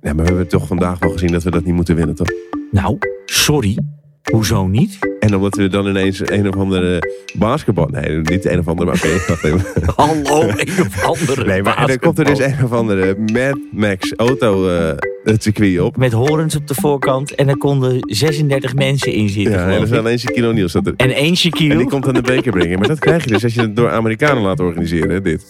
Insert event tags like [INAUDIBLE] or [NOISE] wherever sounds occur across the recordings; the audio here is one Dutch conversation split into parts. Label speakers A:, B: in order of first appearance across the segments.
A: Ja, maar we hebben toch vandaag wel gezien dat we dat niet moeten winnen, toch?
B: Nou, sorry.
A: [LAUGHS]
B: Hoezo niet?
A: En omdat we dan ineens een of andere basketbal... Nee, niet een of andere, maar oké. wacht
B: [LAUGHS]
A: even.
B: Hallo, een of andere.
A: nee, maar er komt er dus een of andere Mad Max auto eh, het circuit op.
B: Met horens op de voorkant en er konden 36 mensen in zitten.
A: Ja, en
B: geloof
A: er
B: ik.
A: is alleen Shaquille O'Neal staat er.
B: En één
A: En
B: Shaquille.
A: die komt dan de beker brengen. Maar dat krijg je dus als je het door Amerikanen laat organiseren, hè, dit.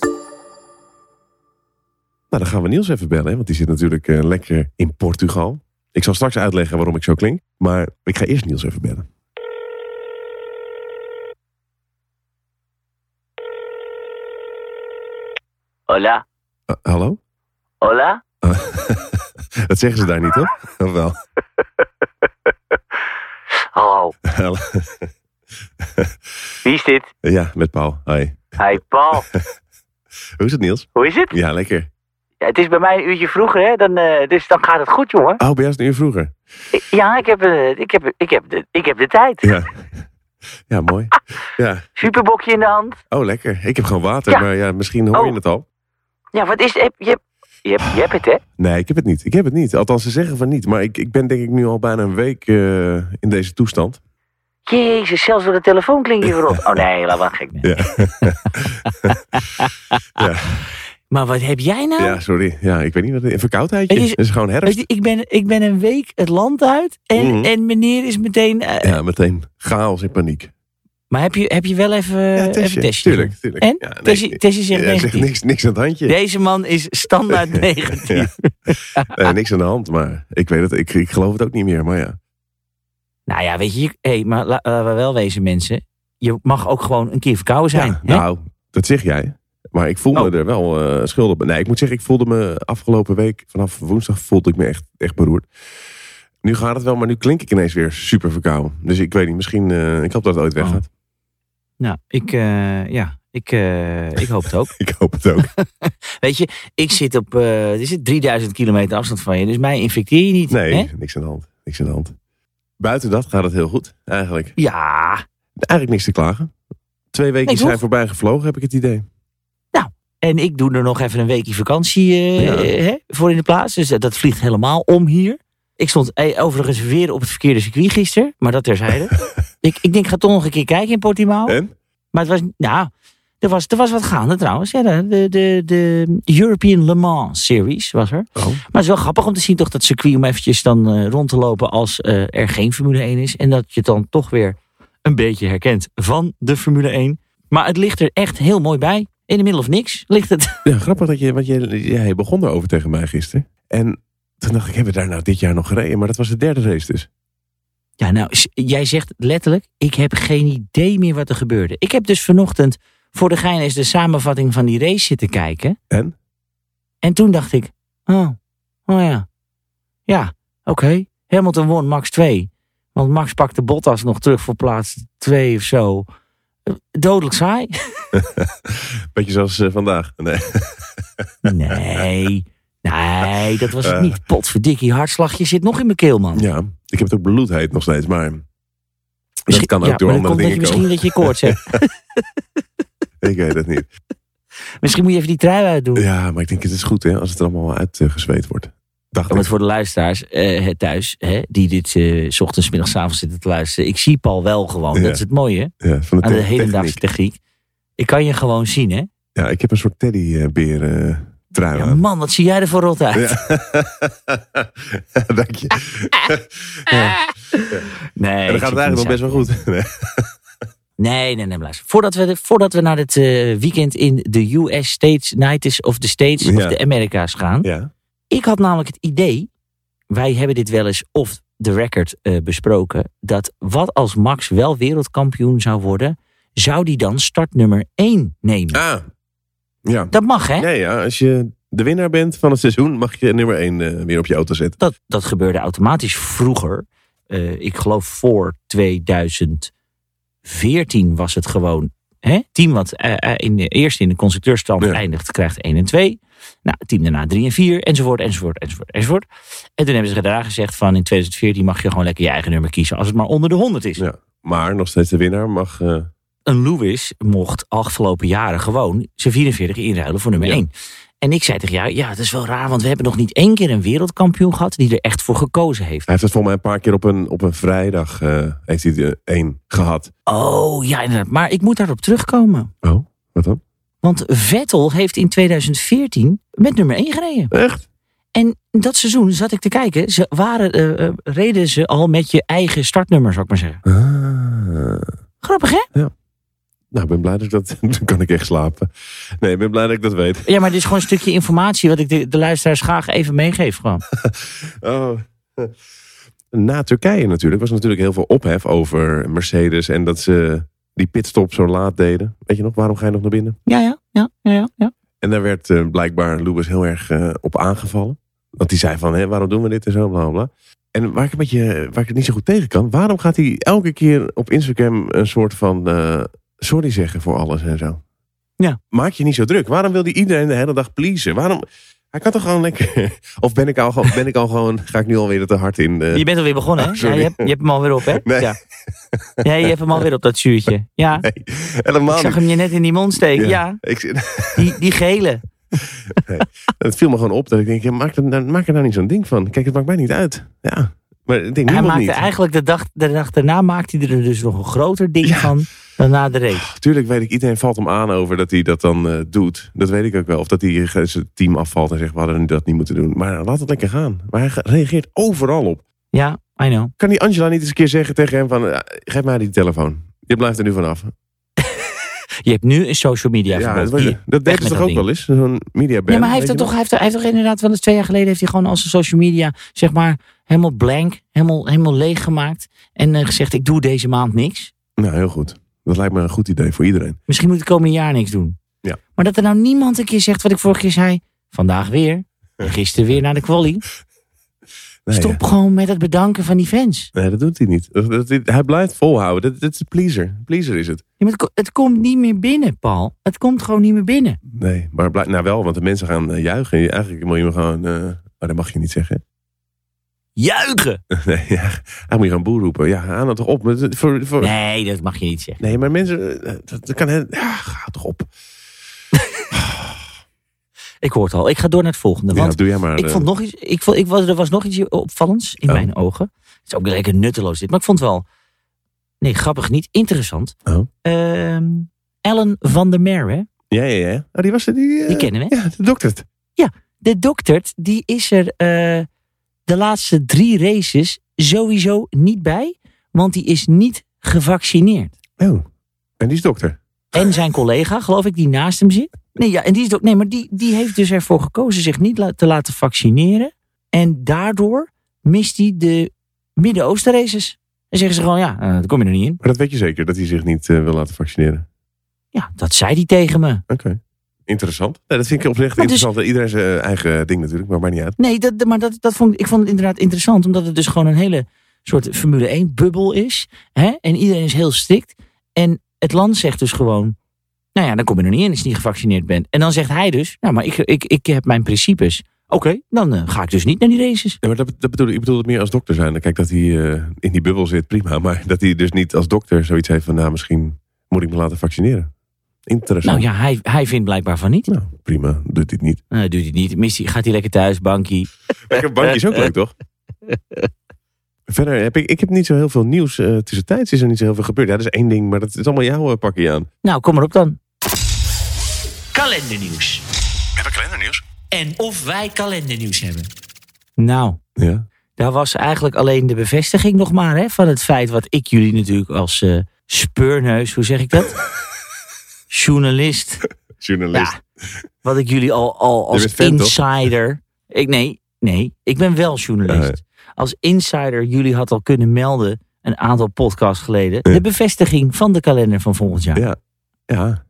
A: Nou, dan gaan we Niels even bellen, hè, want die zit natuurlijk eh, lekker in Portugal. Ik zal straks uitleggen waarom ik zo klink, maar ik ga eerst Niels even bellen.
C: Hola,
A: Ah, hallo?
C: hola.
A: [LAUGHS] Dat zeggen ze daar niet, hoor? Of wel? [LAUGHS]
C: Hallo,
A: Hallo.
C: wie is dit?
A: ja, met Paul. Hoi.
C: Hi Paul,
A: Hoe is het, Niels?
C: hoe is het?
A: Ja, lekker.
C: Ja, het is bij mij een uurtje vroeger, hè? Dan, eh, dus dan gaat het goed, jongen.
A: Oh, bij jou is het een uur vroeger.
C: Ik- Ja, ik heb, eh, ik heb, ik heb, de, ik heb de tijd.
A: Ja. Ja, mooi. Ja.
C: Superbokje in de hand.
A: Oh, lekker. Ik heb gewoon water,
C: Ja.
A: maar ja, misschien hoor je
C: Oh.
A: het al.
C: Ja, wat is het? Je, hebt- je, hebt- je hebt het, hè?
A: Nee, ik heb het niet. Ik heb het niet. Althans, ze zeggen van niet. Maar ik, ik ben denk ik nu al bijna een week eh, in deze toestand.
C: Jezus, zelfs door de telefoon klink je verrot. Oh nee, laat maar gek.
A: Ja, [LAUGHS]
B: Maar wat heb jij nou?
A: ja sorry. Ja, ik weet niet wat het is. Een verkoudheidje.
B: Het
A: Het
B: is-
A: is, gewoon herfst.
B: Weet je, ik, ben, ik ben een week het land uit en,
A: Mhm.
B: en meneer is meteen... eh,
A: Ja, meteen chaos en paniek.
B: Maar heb je, heb je wel even,
A: Ja,
B: Eh, even
A: testje.
B: een testje?
A: Tuurlijk, tuurlijk.
B: En?
A: Ja, nee,
B: Testje-
A: nee.
B: testje zegt
A: Ja,
B: negatief.
A: zegt niks, niks aan het handje.
B: Deze man is
A: [LAUGHS]
B: standaard negatief.
A: Nee, Eh, niks aan de hand, maar ik weet het. Ik, ik geloof het ook niet meer, maar ja.
B: Nou ja, weet je, je- hey, maar la- laten we wel wezen mensen. Je mag ook gewoon een keer verkouden zijn.
A: Ja,
B: hè?
A: nou, dat zeg jij. Maar ik voel me
B: Oh.
A: er wel eh, schuldig bij. Nee, ik moet zeggen, ik voelde me afgelopen week, vanaf woensdag voelde ik me echt, echt beroerd. Nu gaat het wel, maar nu klink ik ineens weer super verkouden. Dus ik weet niet, misschien, eh, ik hoop dat het ooit weggaat.
B: Nou, ik, eh, ja, ik, eh, ik hoop het ook.
A: [LAUGHS] Ik hoop het [LAUGHS] ook.
B: Weet je, ik zit op eh, er zit 3000 kilometer afstand van je, dus mij infecteer je niet.
A: Nee,
B: Hè?
A: niks aan de hand. Niks aan de hand. Buiten dat gaat het heel goed, eigenlijk.
B: Ja,
A: Eigenlijk niks te klagen. Twee weken
B: Nee, toch?
A: zijn voorbij gevlogen, heb ik het idee.
B: en ik doe er nog even een weekje vakantie eh,
A: Ja.
B: eh, hè, voor in de plaats. Dus dat, dat vliegt helemaal om hier. Ik stond eh, overigens weer op het verkeerde circuit gisteren, maar
A: [LAUGHS]
B: dat terzijde. ik, ik denk, ik ga toch nog een keer kijken in Portimao.
A: En?
B: Maar het was, nou, er was, er was wat gaande trouwens. Ja, de, de, de, de European Le Mans Series was er.
A: Oh.
B: Maar het is wel grappig om te zien toch dat circuit om eventjes dan eh, rond te lopen als eh, er geen Formule 1 is. En dat je het dan toch weer een beetje herkent van de Formule 1. Maar het ligt er echt heel mooi bij. In de middel of niks ligt het. [LAUGHS]
A: Ja, grappig dat je, want jij, jij begon erover tegen mij gisteren. En toen dacht ik, hebben we daar nou dit jaar nog gereden? Maar dat was de derde race dus.
B: Ja, nou, s- jij zegt letterlijk, ik heb geen idee meer wat er gebeurde. Ik heb dus vanochtend voor de gein eens de samenvatting van die race zitten kijken.
A: En?
B: En toen dacht ik, oh, oh ja. Ja, oké. Hamilton won Max 2. Want Max pakte Bottas nog terug voor plaats 2 of zo. Eh, Dodelijk saai. [LAUGHS]
A: Beetje zoals eh, vandaag. Nee.
B: Nee, nee, dat was het niet. Potverdikkie, hartslagje zit nog in mijn keel, man.
A: Eh. Ja, ik heb het ook bloedheet nog steeds, maar dat
B: Misschien-
A: kan ook
B: ja,
A: door
B: maar dat
A: andere
B: komt dat
A: dingen
B: je
A: komen.
B: Misschien dat je koorts hebt.
A: Ik weet het [LAUGHS] niet.
B: Misschien moet je even die trui uitdoen.
A: Ja, maar ik denk het is goed hè, als het er allemaal uitgezweet wordt. Dacht
B: Om
A: ik.
B: het voor de luisteraars eh, thuis, hè, die dit eh, 's ochtends, 's middags, 's avonds zitten te luisteren. Ik zie Paul wel gewoon.
A: Ja.
B: Dat is het mooie
A: Ja, van de,
B: aan de
A: te-
B: hedendaagse
A: techniek.
B: techniek. Ik kan je gewoon zien, hè?
A: Ja, ik heb een soort teddybeer eh trui
B: Ja,
A: aan.
B: man, wat zie jij er voor rot uit.
A: Ja. [LAUGHS] Dank je.
B: [LAUGHS]
A: ja.
B: Nee,
A: En dan
B: ik
A: gaat het
B: zit
A: eigenlijk nog best wel
B: niet
A: goed. [LAUGHS] Nee.
B: zo. Nee, nee, nee, blijf. Voordat we, voordat we naar het eh, weekend in de US States, Nights of the States of
A: Ja.
B: de Amerika's gaan.
A: Ja.
B: Ik had namelijk het idee, wij hebben dit wel eens off the record eh, besproken, dat wat als Max wel wereldkampioen zou worden, zou die dan startnummer 1 nemen?
A: Ah. Ja.
B: Dat mag, hè?
A: Nee, ja, als je de winnaar bent van het seizoen, mag je nummer 1 weer op je auto zetten.
B: Dat, dat gebeurde automatisch vroeger. Eh, ik geloof voor 2014 was het gewoon. Hè? Team wat eh, eh, in de, eerst in de constructeurstand
A: Ja.
B: eindigt, krijgt 1 en 2. Nou, team daarna 3 en 4, enzovoort, enzovoort, enzovoort, enzovoort. En toen hebben ze daar gezegd van in 2014 mag je gewoon lekker je eigen nummer kiezen als het maar onder de 100 is.
A: Ja. Maar nog steeds de winnaar mag. eh,
B: Een Lewis mocht afgelopen jaren gewoon zijn 44 inruilen voor nummer
A: Ja.
B: 1. En ik zei tegen jou, ja, dat is wel raar, want we hebben nog niet één keer een wereldkampioen gehad die er echt voor gekozen
A: Hij
B: heeft.
A: heeft het voor mij een paar keer op een, op een vrijdag eh, heeft hij er één gehad.
B: Oh, ja, inderdaad. Maar ik moet daarop terugkomen.
A: Oh, wat dan?
B: Want Vettel heeft in 2014 met nummer 1 gereden.
A: Echt?
B: En dat seizoen zat ik te kijken, ze waren, eh, eh, reden ze al met je eigen startnummer, zou ik maar zeggen.
A: Ah.
B: Grappig, hè?
A: Nou, ik ben blij dat ik dat... [LAUGHS] Dan kan ik echt slapen. Nee, ik ben blij dat ik dat weet.
B: Ja, maar dit is gewoon een stukje informatie wat ik de, de luisteraars graag even meegeef. Gewoon.
A: Oh. [LAUGHS] Na Turkije natuurlijk was er natuurlijk heel veel ophef over Mercedes. En dat ze die pitstop zo laat deden. Weet je nog, waarom ga je nog naar binnen?
B: Ja, ja, ja, ja, ja, ja.
A: En daar werd eh, blijkbaar Lewis heel erg eh, op aangevallen. Want die zei van, hé, waarom doen we dit en zo, bla bla, bla. En waar ik, een beetje, waar ik het niet zo goed tegen kan... waarom gaat hij elke keer op Instagram een soort van eh, sorry zeggen voor alles en zo?
B: Ja.
A: Maak je niet zo druk. Waarom wil hij iedereen de hele dag pleasen? Waarom... Hij kan toch gewoon lekker... [LAUGHS] Of ben ik al, gewoon- ben ik al gewoon... Ga ik nu alweer te hard in... eh,
B: Je bent alweer begonnen, hè?
A: Ah, sorry.
B: Ja, je, hebt, je hebt hem alweer op, hè?
A: [LAUGHS] Nee.
B: Ja. ja, je hebt hem alweer op dat zuurtje. Ja, ik
A: helemaal
B: zag
A: niet.
B: hem je net in die mond steken. Ja,
A: Ik,
B: die, die gele.
A: [LAUGHS] het viel me gewoon op dat ik denk... ja, maak, er, nou- maak er nou niet zo'n ding van. Kijk, het maakt mij niet uit. Ja. Maar ik denk
B: Hij
A: niemand
B: maakte
A: niet.
B: eigenlijk de dag, de dag daarna maakte hij er dus nog een groter ding
A: Ja.
B: van dan na de race.
A: Tuurlijk weet ik, iedereen valt hem aan over dat hij dat dan eh, doet. Dat weet ik ook wel. Of dat hij eh, zijn team afvalt en zegt, we hadden dat niet moeten doen. Maar laat het lekker gaan. Maar hij ge- reageert overal op.
B: Ja, I know.
A: Kan die Angela niet eens een keer zeggen tegen hem van, eh, geef mij die telefoon. Je blijft er nu vanaf.
B: Je hebt nu een social media
A: Ja,
B: verbod.
A: dat, was-
B: Die-
A: dat
B: met
A: deden ze toch
B: dat
A: ook
B: ding.
A: wel eens? Zo'n media
B: Ja, maar hij heeft, dat toch, hij, heeft, hij heeft toch inderdaad wel eens twee jaar geleden... heeft hij gewoon als zijn social media, zeg maar, helemaal blank, helemaal, helemaal leeg gemaakt. En eh, gezegd, ik doe deze maand niks.
A: Nou, heel goed. Dat lijkt me een goed idee voor iedereen.
B: Misschien moet ik het komende jaar niks doen.
A: Ja.
B: Maar dat er nou niemand een keer zegt wat ik vorige keer zei. Vandaag weer. en Gisteren weer naar de quali.
A: [LAUGHS] Nee,
B: Stop gewoon met het bedanken van die fans.
A: hè. Nee, dat doet hij niet. Dat, dat- hij blijft volhouden. Dat, dat is een pleaser. Pleaser is het.
B: Ja, maar het, ko- het komt niet meer binnen, Paul. Het komt gewoon niet meer binnen.
A: Nee, maar blijk, nou wel, want de mensen gaan eh, juichen. Eigenlijk moet je hem gewoon... eh, maar dat mag je niet zeggen.
B: Juichen!
A: [LAUGHS] Nee, ja, hij moet je gewoon boer roepen. Ja, aan het toch op. met- Voor, voor... Nee.
B: Nee, dat mag je niet zeggen.
A: maar mensen, eh, dat, dat kan... hè- Ja, ga toch op.
B: Ik hoor het al. Ik ga door naar het volgende.
A: Ja,
B: Want
A: doe jij maar.
B: ik
A: eh,
B: vond nog iets. Ik vond, ik was, er was nog iets opvallends in
A: Oh.
B: mijn ogen. Het is ook lekker nutteloos dit. Maar ik vond het wel. Nee, grappig niet. Interessant.
A: Oh.
B: Ehm, Ellen van der Merwe.
A: Ja, ja, ja. Oh, die was er, die... eh,
B: Die kennen we.
A: Ja, de dokter.
B: de doktert, die is er eh, de laatste drie races sowieso niet bij. Want die is niet gevaccineerd.
A: Oh, en die is dokter.
B: En zijn collega, geloof ik, die naast hem zit. Nee, ja, en die is dok- nee maar die, die heeft dus ervoor gekozen zich niet la- te laten vaccineren. En daardoor mist hij de Midden-Oosten races. En zeggen ze gewoon, ja, eh, daar kom je er niet in.
A: Maar dat weet je zeker, dat hij zich niet eh, wil laten vaccineren.
B: Ja, dat zei hij tegen me.
A: Oké. Interessant. Nee, dat vind ik oprecht
B: Maar dus-
A: interessant. Iedereen zijn eh, eigen ding natuurlijk, maar maakt niet uit.
B: Nee, dat, maar dat, dat vond, ik- ik vond het inderdaad interessant. Omdat het dus gewoon een hele soort Formule 1-bubbel is. Hè? En iedereen is heel strikt. En het land zegt dus gewoon... Nou ja, dan kom je er niet in als je niet gevaccineerd bent. En dan zegt hij dus... Nou, maar ik, ik, ik heb mijn principes. Oké, dan eh, ga ik dus niet naar die races.
A: Ja, maar dat, dat bedoel ik, ik bedoel het meer als dokter zijn. Kijk, dat hij eh, in die bubbel zit, prima. [LAUGHS] Maar dat hij dus niet als dokter zoiets heeft van... Nou, misschien moet ik me laten vaccineren. Interessant.
B: Nou ja, hij, hij vindt blijkbaar van niet.
A: Nou, prima. Doet hij het niet.
B: Nou, doet hij niet. Mist hij, gaat hij lekker thuis, bankie.
A: Lekker bankje is ook leuk, toch? [LAUGHS] Verder heb ik, ik heb niet zo heel veel nieuws. eh tussentijds is er niet zo heel veel gebeurd. Ja, dat is één ding, maar dat is allemaal jouw eh, pakje aan.
B: Nou, kom maar op dan. Kalendernieuws.
A: Heb ik kalendernieuws?
B: En of wij kalendernieuws hebben. Nou,
A: Ja.
B: Daar was eigenlijk alleen de bevestiging nog maar hè, van het feit wat ik jullie natuurlijk als eh, speurneus, hoe zeg ik
A: [LAUGHS]
B: dat? Journalist.
A: Journalist.
B: Ja, wat ik jullie al, al
A: Je
B: als
A: bent fan, toch?
B: insider. Ik, nee, nee, ik ben wel journalist.
A: Eh.
B: Als insider jullie had al kunnen melden, een aantal podcasts geleden,
A: Ja.
B: de bevestiging van de kalender van volgend jaar.
A: Ja. Ja.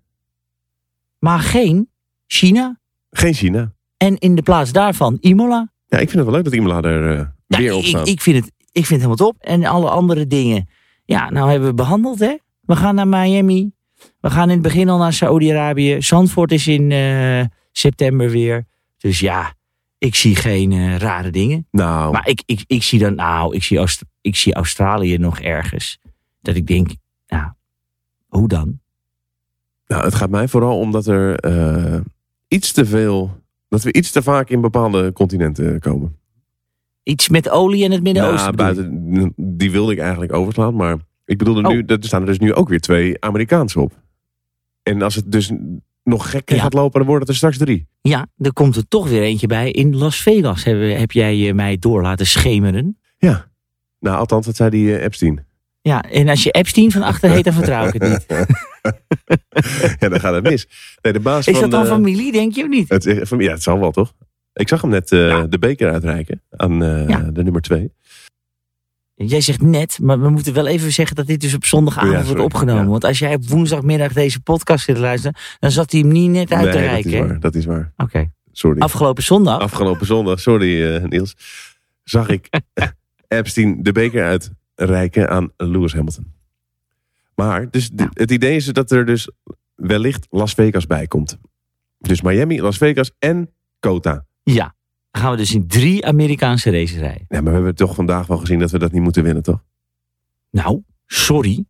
B: Maar geen China.
A: Geen China.
B: En in de plaats daarvan Imola.
A: Ja, ik vind het wel leuk dat Imola er eh,
B: Ja,
A: weer op
B: Nou, ik,
A: staat.
B: ik vind het, ik vind het helemaal top. En alle andere dingen. Ja, nou hebben we behandeld, hè. We gaan naar Miami. We gaan in het begin al naar Saoedi-Arabië. Zandvoort is in eh, september weer. Dus ja, ik zie geen eh, rare dingen.
A: nou,
B: Maar ik, ik, ik zie dan, nou, ik zie, Aust- ik zie Australië nog ergens. Dat ik denk, nou, hoe dan?
A: nou, het gaat mij vooral omdat er eh, iets te veel... Dat we iets te vaak in bepaalde continenten komen.
B: Iets met olie en het Midden-Oosten.
A: Nou,
B: bedoel je?
A: buiten, die wilde ik eigenlijk overslaan. Maar ik bedoelde
B: Oh.
A: nu, dat- er staan er dus nu ook weer twee Amerikaanse op. En als het dus nog gekker
B: Ja.
A: gaat lopen, dan worden het er straks drie.
B: Ja, er komt er toch weer eentje bij. In Las Vegas heb, heb jij eh, mij door laten schemeren.
A: Ja. Nou, althans, dat zei die eh,
B: [LAUGHS]
A: Epstein.
B: Ja, en als je Epstein van achter heet, dan vertrouw ik het
A: [LAUGHS]
B: niet.
A: ja, dan gaat het mis. Nee, de baas
B: Is dat dan
A: eh,
B: familie, denk je of niet?
A: Het, is- van- ja, het zal wel, toch? Ik zag hem net eh, de beker uitreiken aan eh,
B: Ja.
A: de nummer twee.
B: Jij zegt net, maar we moeten wel even zeggen dat dit dus op zondagavond
A: Ja, sorry.
B: wordt opgenomen.
A: Ja.
B: Want als jij op woensdagmiddag deze podcast zit te luisteren, dan zat hij hem niet net uit te
A: nee, dat
B: reiken.
A: is
B: hè?
A: waar. Dat is waar.
B: Oké,
A: Sorry.
B: afgelopen
A: [LAUGHS]
B: zondag.
A: Afgelopen zondag, sorry eh, Niels, zag ik [LAUGHS] Epstein de beker uitreiken aan Lewis Hamilton. Maar dus d- het idee is dat er dus wellicht Las Vegas bij komt. Dus Miami, Las Vegas en Kota.
B: Ja, dan gaan we dus in drie Amerikaanse races rijden.
A: Ja, maar we hebben toch vandaag wel gezien dat we dat niet moeten winnen, toch?
B: Nou, sorry.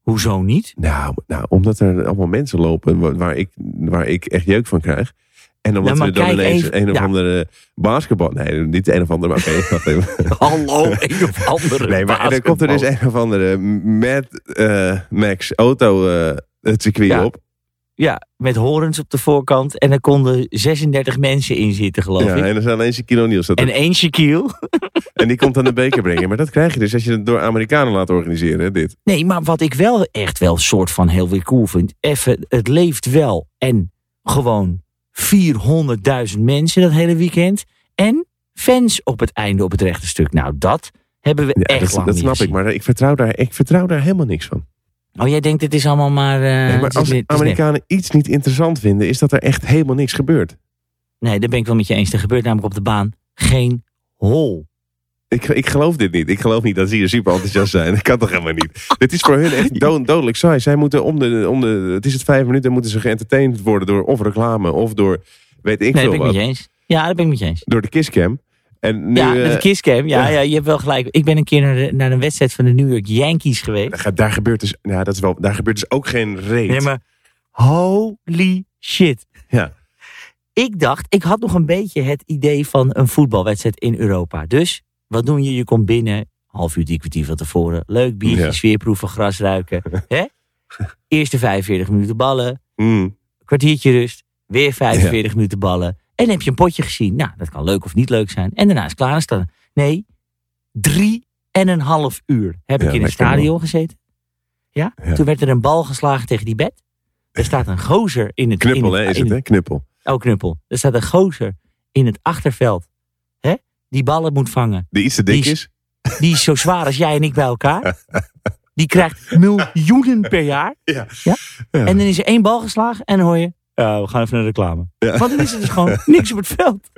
B: Hoezo niet?
A: Nou, nou omdat er allemaal mensen lopen wa- waar ik, waar ik echt jeuk van krijg. En omdat
B: Nou, maar
A: we dan
B: kijk
A: ineens
B: even-
A: een of
B: ja.
A: andere basketbal... Nee, niet een of andere,
B: [LAUGHS]
A: maar oké, wacht even. [LAUGHS]
B: Hallo, een of andere.
A: Nee, maar er komt
B: basketbal.
A: er dus een of andere met eh, Max Auto eh, het circuit
B: Ja,
A: op.
B: Ja, met horens op de voorkant. En er konden 36 mensen in zitten, geloof
A: Ja,
B: ik.
A: en er zijn alleen Shaquille O'Neal. zat er.
B: En
A: En,
B: één Shaquille.
A: die komt dan de beker brengen. Maar dat krijg je dus als je het door Amerikanen laat organiseren, hè, dit.
B: Nee, maar wat ik wel echt wel soort van heel weer cool vind. Even, het leeft wel. En gewoon 400.000 mensen dat hele weekend. En fans op het einde op het rechte stuk. Nou, dat hebben we
A: Ja,
B: echt
A: dat
B: lang
A: dat
B: niet
A: snap ik,
B: gezien.
A: maar ik vertrouw, daar, ik vertrouw daar helemaal niks van.
B: Oh, jij denkt het is allemaal maar... eh,
A: Nee, maar
B: het is
A: als
B: net- het is net.
A: Amerikanen iets niet interessant vinden, is dat er echt helemaal niks gebeurt.
B: Nee, daar ben ik wel met je eens. Er gebeurt namelijk op de baan geen hol.
A: Ik, ik geloof dit niet. Ik geloof niet dat ze hier super enthousiast zijn. [LAUGHS] Dat kan toch helemaal niet. Dit is voor hun
B: [LAUGHS]
A: echt dood, dodelijk saai. Zij moeten om de, om de... Het is het vijf minuten, moeten ze geëntertaind worden door of reclame of door... Weet ik veel
B: Nee, dat ben ik
A: wat.
B: met je eens. Ja, dat ben ik met je eens.
A: door de kisscam. En nu,
B: ja,
A: eh,
B: met de kisscam. Ja,
A: ja.
B: ja. je hebt wel gelijk. Ik ben een keer naar, de- naar een wedstrijd van de New York Yankees geweest.
A: daar- daar, gebeurt dus, ja, dat is wel, daar gebeurt dus ook geen reet.
B: Nee, maar holy shit.
A: Ja.
B: Ik dacht, ik had nog een beetje het idee van een voetbalwedstrijd in Europa. Dus, wat doen je? Je komt binnen, half uur, drie kwartier van tevoren. Leuk biertje,
A: Ja.
B: sfeerproeven, gras ruiken.
A: [LAUGHS]
B: hè? Eerste 45 minuten ballen,
A: Mm.
B: kwartiertje rust, weer 45 minuten ballen. En heb je een potje gezien. Nou, dat kan leuk of niet leuk zijn. En daarna is het klaar. Is het dan- Nee, drie en een half uur heb
A: Ja,
B: ik in het
A: lekker,
B: stadion gezeten. Ja?
A: Ja.
B: toen werd er een bal geslagen tegen die bed. Er staat een gozer in het...
A: Knuppel,
B: in
A: hè, is
B: in
A: het, hè? Knuppel.
B: Oh, knuppel. Er staat een gozer in het achterveld. Hè? Die ballen moet vangen.
A: Die iets te dik
B: Die
A: is.
B: Die is zo zwaar als jij en ik bij elkaar. Die krijgt miljoenen per jaar.
A: Ja.
B: Ja?
A: Ja.
B: En dan is er één bal geslagen en dan hoor je... Ja, we gaan even naar de reclame.
A: Ja.
B: Want dan is er dus
A: [LAUGHS]
B: gewoon niks op het veld.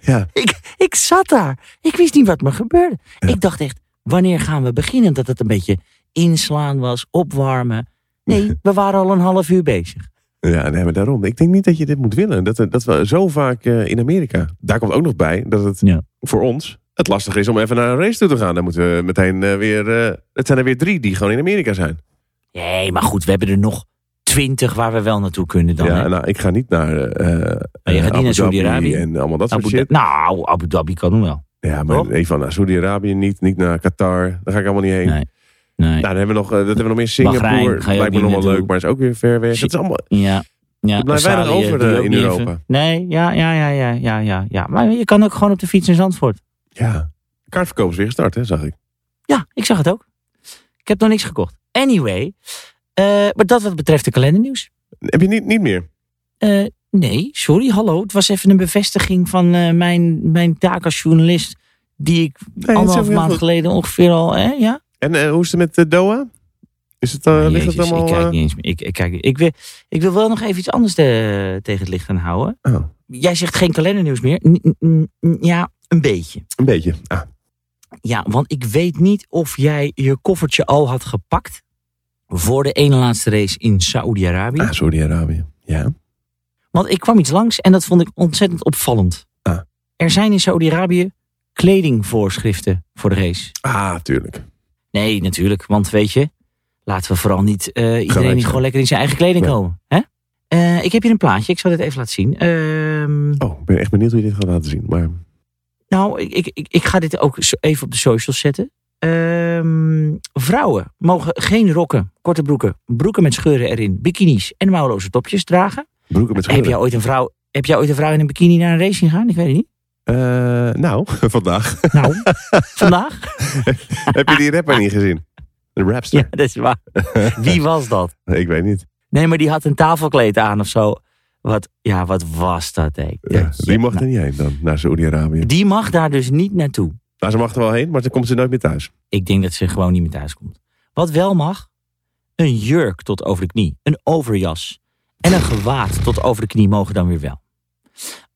A: Ja.
B: Ik, ik zat daar. Ik wist niet wat me gebeurde. Ik dacht echt, wanneer gaan we beginnen? Dat het een beetje inslaan was, opwarmen. Nee, we waren al een half uur bezig.
A: ja, nee, maar daarom. Ik denk niet dat je dit moet willen. Dat, dat we zo vaak eh, in Amerika. Daar komt ook nog bij dat het
B: Ja.
A: voor ons het lastig is om even naar een race toe te gaan. Dan moeten we meteen eh, weer... eh, het zijn er weer drie die gewoon in Amerika zijn.
B: Nee, maar goed, we hebben er nog twintig waar we wel naartoe kunnen dan. hè?
A: ja, nou, ik ga niet naar... eh, eh,
B: niet
A: Abu
B: naar
A: Dhabi
B: Saudi-Arabië.
A: En allemaal dat soort
B: Abu
A: shit.
B: Dha- nou, Abu Dhabi kan hem wel.
A: Ja, maar
B: Toch?
A: even naar Saudi-Arabië niet. Niet naar Qatar. Daar ga ik allemaal niet heen.
B: Nee. Nee.
A: Nou, dan hebben we nog, eh, dat hebben we nog meer.
B: Bahrein,
A: Singapore
B: ga je ook
A: lijkt me
B: niet
A: nog wel
B: naartoe.
A: leuk, maar is ook weer ver weg.
B: Shit.
A: Dat is allemaal,
B: ja. Ja,
A: Er blijft weinig
B: Australië
A: over,
B: doe je
A: eh,
B: ook
A: in
B: niet
A: Europa.
B: even. Nee, ja, ja, ja, ja, ja, ja, ja. Maar je kan ook gewoon op de fiets in Zandvoort.
A: ja. Kaartverkoop is weer gestart, hè, zag ik.
B: Ja, ik zag het ook. Ik heb nog niks gekocht. Anyway, eh, maar dat wat betreft de kalendernieuws.
A: Heb je niet, niet meer?
B: Eh, nee, sorry, hallo. Het was even een bevestiging van eh, mijn, mijn taak als journalist. Die ik
A: is ook
B: anderhalf
A: heel
B: maand
A: goed.
B: geleden ongeveer al... Hè, ja?
A: En eh, hoe is het met eh, Doha? Is het, eh, ligt
B: Jezus,
A: het allemaal...
B: ik kijk
A: eh,
B: niet eens meer. Ik, ik, kijk, ik, wil, ik wil wel nog even iets anders eh, tegen het licht gaan houden.
A: Oh.
B: Jij zegt geen kalendernieuws meer. N- n- n- ja, een beetje.
A: een beetje. Ah,
B: Ja, want ik weet niet of jij je koffertje al had gepakt voor de ene laatste race in Saoedi-Arabië.
A: ah Saudi-Arabië. Ja.
B: Want ik kwam iets langs en dat vond ik ontzettend opvallend.
A: Ah.
B: Er zijn in Saoedi-Arabië kledingvoorschriften voor de race.
A: Ah, tuurlijk.
B: Nee, natuurlijk. Want weet je, laten we vooral niet eh, iedereen
A: zijn.
B: die gewoon lekker in zijn eigen kleding
A: Nee.
B: komen. Hè? Eh, ik heb hier een plaatje, ik zal dit even laten zien. Ehm,
A: Oh, ik ben echt benieuwd hoe je dit gaat laten zien. Maar
B: nou, ik- ik, ik, ik ga dit ook zo even op de socials zetten. Ehm, vrouwen mogen geen rokken, korte broeken, broeken met scheuren erin, bikinis en mouwloze topjes dragen.
A: broeken met
B: Heb
A: scheuren.
B: jij, ooit een vrouw, heb jij ooit een vrouw in een bikini naar een race zien gaan? Ik weet het niet.
A: Eh, nou, [LAUGHS]
B: [LAUGHS]
A: vandaag.
B: Nou, vandaag?
A: Heb je die rapper niet gezien? Een
B: Ja,
A: rapster?
B: [LAUGHS] dat is waar. Wie was dat?
A: [LAUGHS] Ik weet niet.
B: Nee, maar die had een tafelkleed aan of zo. Wat, ja, wat was dat? Hè?
A: Ja, die Eh, mag
B: nou.
A: er niet heen dan, naar Saoedi-Arabië.
B: die mag daar dus niet naartoe.
A: Nou, ze mag er wel heen, maar dan komt ze nooit meer thuis.
B: Ik denk dat ze gewoon niet meer thuis komt. Wat wel mag, een jurk tot over de knie, een overjas en een gewaad tot over de knie mogen dan weer wel.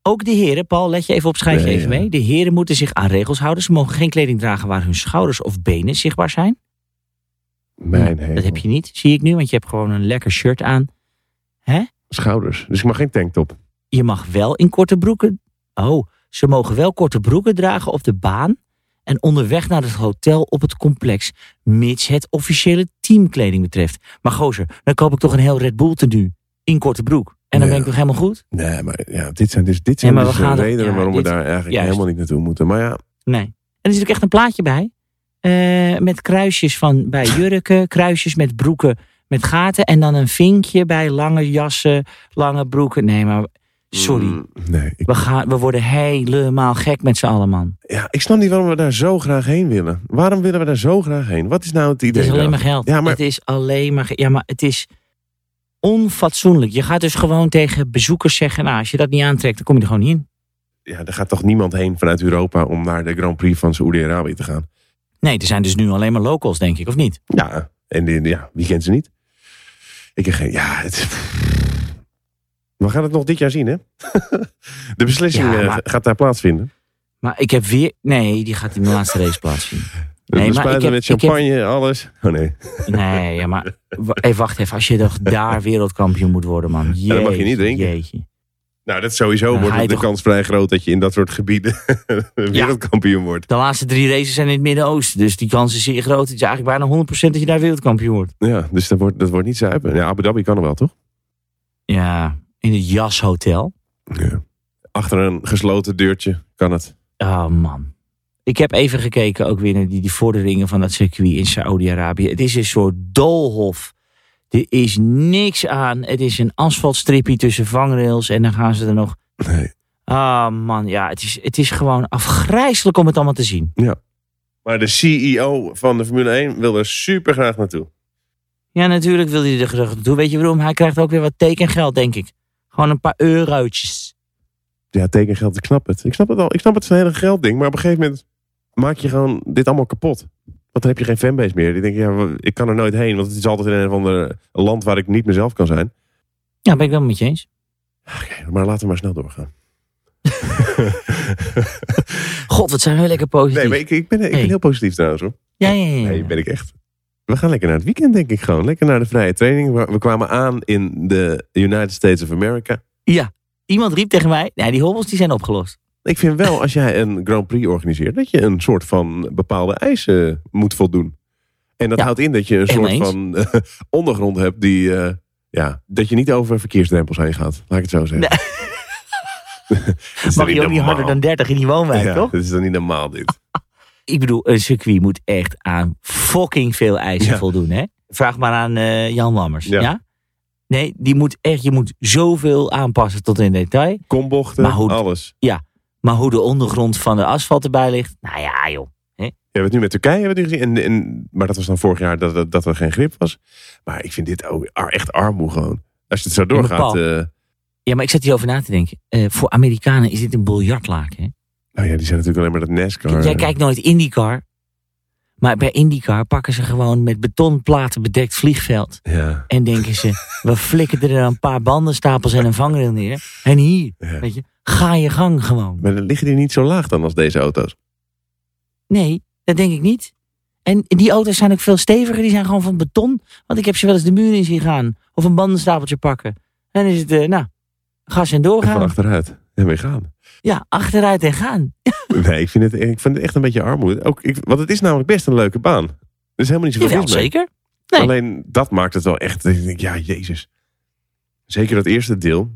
B: Ook de heren, Paul, let je even op, schrijf je
A: Nee,
B: even
A: ja.
B: mee. De heren moeten zich aan regels houden. Ze mogen geen kleding dragen waar hun schouders of benen zichtbaar zijn.
A: Mijn
B: Dat
A: hemel.
B: heb je niet, zie ik nu, want je hebt gewoon een lekker shirt aan.
A: Schouders. Dus ik mag geen tanktop.
B: je mag wel in korte broeken. Oh, ze mogen wel korte broeken dragen op de baan. En onderweg naar het hotel op het complex. Mits het officiële teamkleding betreft. Maar gozer, dan koop ik toch een heel Red Bull tenue. In korte broek. En
A: Ja.
B: dan ben ik toch helemaal goed?
A: Nee, maar ja, dit zijn dus, dit zijn
B: maar we
A: dus de
B: gaan er-
A: redenen
B: ja,
A: waarom
B: dit-
A: we daar eigenlijk
B: juist.
A: helemaal niet naartoe moeten. Maar ja,
B: Nee. En er zit ook echt een plaatje bij. eh, met kruisjes van
A: [LAUGHS]
B: bij jurken. Kruisjes met broeken met gaten. En dan een vinkje bij lange jassen, lange broeken. Nee, maar sorry.
A: mm, nee, ik,
B: We, gaan, we worden helemaal gek met z'n allen, man.
A: ja, ik snap niet waarom we daar zo graag heen willen. Waarom willen we daar zo graag heen? Wat is nou het idee?
B: Het is alleen maar
A: daar?
B: geld.
A: Ja, maar-
B: Het is alleen maar. ge- Ja, maar het is onfatsoenlijk. Je gaat dus gewoon tegen bezoekers zeggen: nou, als je dat niet aantrekt, dan kom je er gewoon niet in.
A: Ja, er gaat toch niemand heen vanuit Europa om naar de Grand Prix van Saoedi-Arabië te gaan?
B: Nee, er zijn dus nu alleen maar locals, denk ik, of niet?
A: Ja, en die- ja, wie kent ze niet? Ik heb geen... Ja, het... We gaan het nog dit jaar zien, hè? [LAUGHS] de beslissing
B: Ja,
A: eh,
B: maar-
A: gaat daar plaatsvinden.
B: Maar ik heb weer. Nee, die gaat in de laatste race plaatsvinden.
A: We
B: Nee, maar
A: spuiten
B: ik heb-
A: met
B: ik heb-
A: champagne, alles. Oh nee,
B: Nee, ja, maar. w- Hey, wacht even. Als je toch daar wereldkampioen moet worden, man. Jeetje,
A: dat mag je niet drinken.
B: Jeetje.
A: nou dat sowieso
B: Dan
A: wordt
B: ga je
A: de
B: toch-
A: kans vrij groot dat je in dat soort gebieden [LAUGHS] wereldkampioen wordt.
B: De laatste drie races zijn in het Midden-Oosten. Dus die kans is zeer groot. Het is eigenlijk bijna 100% dat je daar wereldkampioen wordt.
A: Ja, dus dat wordt, dat wordt niet zuipen. Ja, Abu Dhabi kan er wel, toch?
B: Ja, in het jashotel.
A: Achter een gesloten deurtje kan het.
B: Oh man. Ik heb even gekeken ook weer naar die, die vorderingen van dat circuit in Saoedi-Arabië. Het is een soort doolhof. Er is niks aan. Het is een asfaltstrippie tussen vangrails en dan gaan ze er nog...
A: Nee.
B: Ah man, ja, het is, het is gewoon afgrijzelijk om het allemaal te zien.
A: Maar de CEO van de Formule 1 wil er super graag naartoe.
B: Ja, natuurlijk wil hij er graag naartoe. Weet je waarom? Hij krijgt ook weer wat tekengeld, denk ik. Gewoon een paar eurotjes.
A: Ja, tekengeld, ik snap het. Ik snap het al. Ik snap het, het is een hele geldding. Maar op een gegeven moment maak je gewoon dit allemaal kapot. Want dan heb je geen fanbase meer. Die denken, ja, wa- ik kan er nooit heen. Want het is altijd in een of ander land waar ik niet mezelf kan zijn.
B: Ja, ben ik wel met je eens.
A: Oké, maar laten we maar snel doorgaan.
B: God, wat zijn we lekker positief.
A: nee, maar ik, ik, ben, ik
B: Hey.
A: ben heel positief trouwens hoor.
B: Ja, ja, ja. ja.
A: Nee, ben ik echt. We gaan lekker naar het weekend, denk ik gewoon. Lekker naar de vrije training. We- We kwamen aan in de United States of America.
B: Iemand riep tegen mij, nee, die hobbels die zijn opgelost.
A: Ik vind wel, als jij een Grand Prix organiseert, dat je een soort van bepaalde eisen moet voldoen. En dat
B: Ja,
A: houdt in dat je een
B: helemaal
A: soort van eh, ondergrond hebt die. eh, ja, dat je niet over verkeersdrempels heen gaat. Laat ik het zo zeggen.
B: Nee.
A: [LAUGHS] Dat is
B: Mag
A: dan
B: je ook niet
A: normaal.
B: harder dan 30 in die woonwijk,
A: Ja,
B: toch? Ah.
A: Dat is dan niet normaal, dit.
B: Ik bedoel, een circuit moet echt aan fucking veel eisen
A: Ja.
B: voldoen, hè? Vraag maar aan eh, Jan Lammers, ja.
A: Ja.
B: Nee, die moet echt, je moet zoveel aanpassen tot in detail.
A: Kombochten,
B: Maar hoe-
A: alles.
B: Maar hoe de ondergrond van de asfalt erbij ligt, nou ja, joh.
A: Ja, we hebben het nu met Turkije hebben we het nu gezien. En, en, maar dat was dan vorig jaar dat, dat, dat er geen grip was. Maar ik vind dit ook ar- echt armoe gewoon. Als je het zo
B: maar
A: doorgaat.
B: Paul-
A: eh,
B: Ja, maar ik zat hierover na te denken. Eh, voor Amerikanen is dit een biljartlaken, hè?
A: nou ja, die zijn natuurlijk alleen maar dat NASCAR.
B: Jij kijkt nooit IndyCar. Maar bij IndyCar pakken ze gewoon met betonplaten bedekt vliegveld.
A: Ja,
B: En denken
A: [LAUGHS]
B: ze, we flikken er een paar bandenstapels en een vangrail neer. En hier,
A: ja.
B: weet je, ga je gang gewoon.
A: Maar dan liggen die niet zo laag dan als deze auto's.
B: Nee, dat denk ik niet. En die auto's zijn ook veel steviger. Die zijn gewoon van beton. Want ik heb ze wel eens de muur in zien gaan. Of een bandenstapeltje pakken. En dan is het, eh, nou, gas en
A: En van
B: doorgaan.
A: achteruit. En weer gaan.
B: Ja, achteruit en gaan.
A: Nee, ik vind, het, ik vind het echt een beetje armoede. Ook, ik, want het is namelijk best een leuke baan. Er is helemaal niet zoveel
B: Jawel,
A: mis mee.
B: zeker. nee.
A: Alleen dat maakt het wel echt. Ik denk, ja, jezus. Zeker dat eerste deel.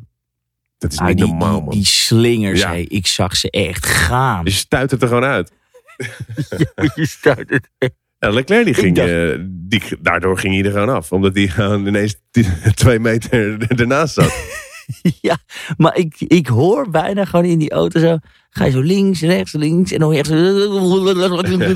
A: Dat is
B: Ah,
A: niet
B: die,
A: normaal,
B: die,
A: man.
B: die slingers,
A: Ja.
B: hé, ik zag ze echt gaan.
A: Je stuit het er gewoon uit.
B: Je staat het.
A: Ja, Leclerc die
B: Ik
A: ging,
B: dacht-
A: eh, die, daardoor ging hij er gewoon af. Omdat hij gewoon ineens t- [LAUGHS] twee meter ernaast
B: [LAUGHS]
A: zat.
B: [LAUGHS] Ja, maar ik, ik hoor bijna gewoon in die auto zo. Ga je zo links, rechts, links. En dan hoor je echt
A: [LAUGHS]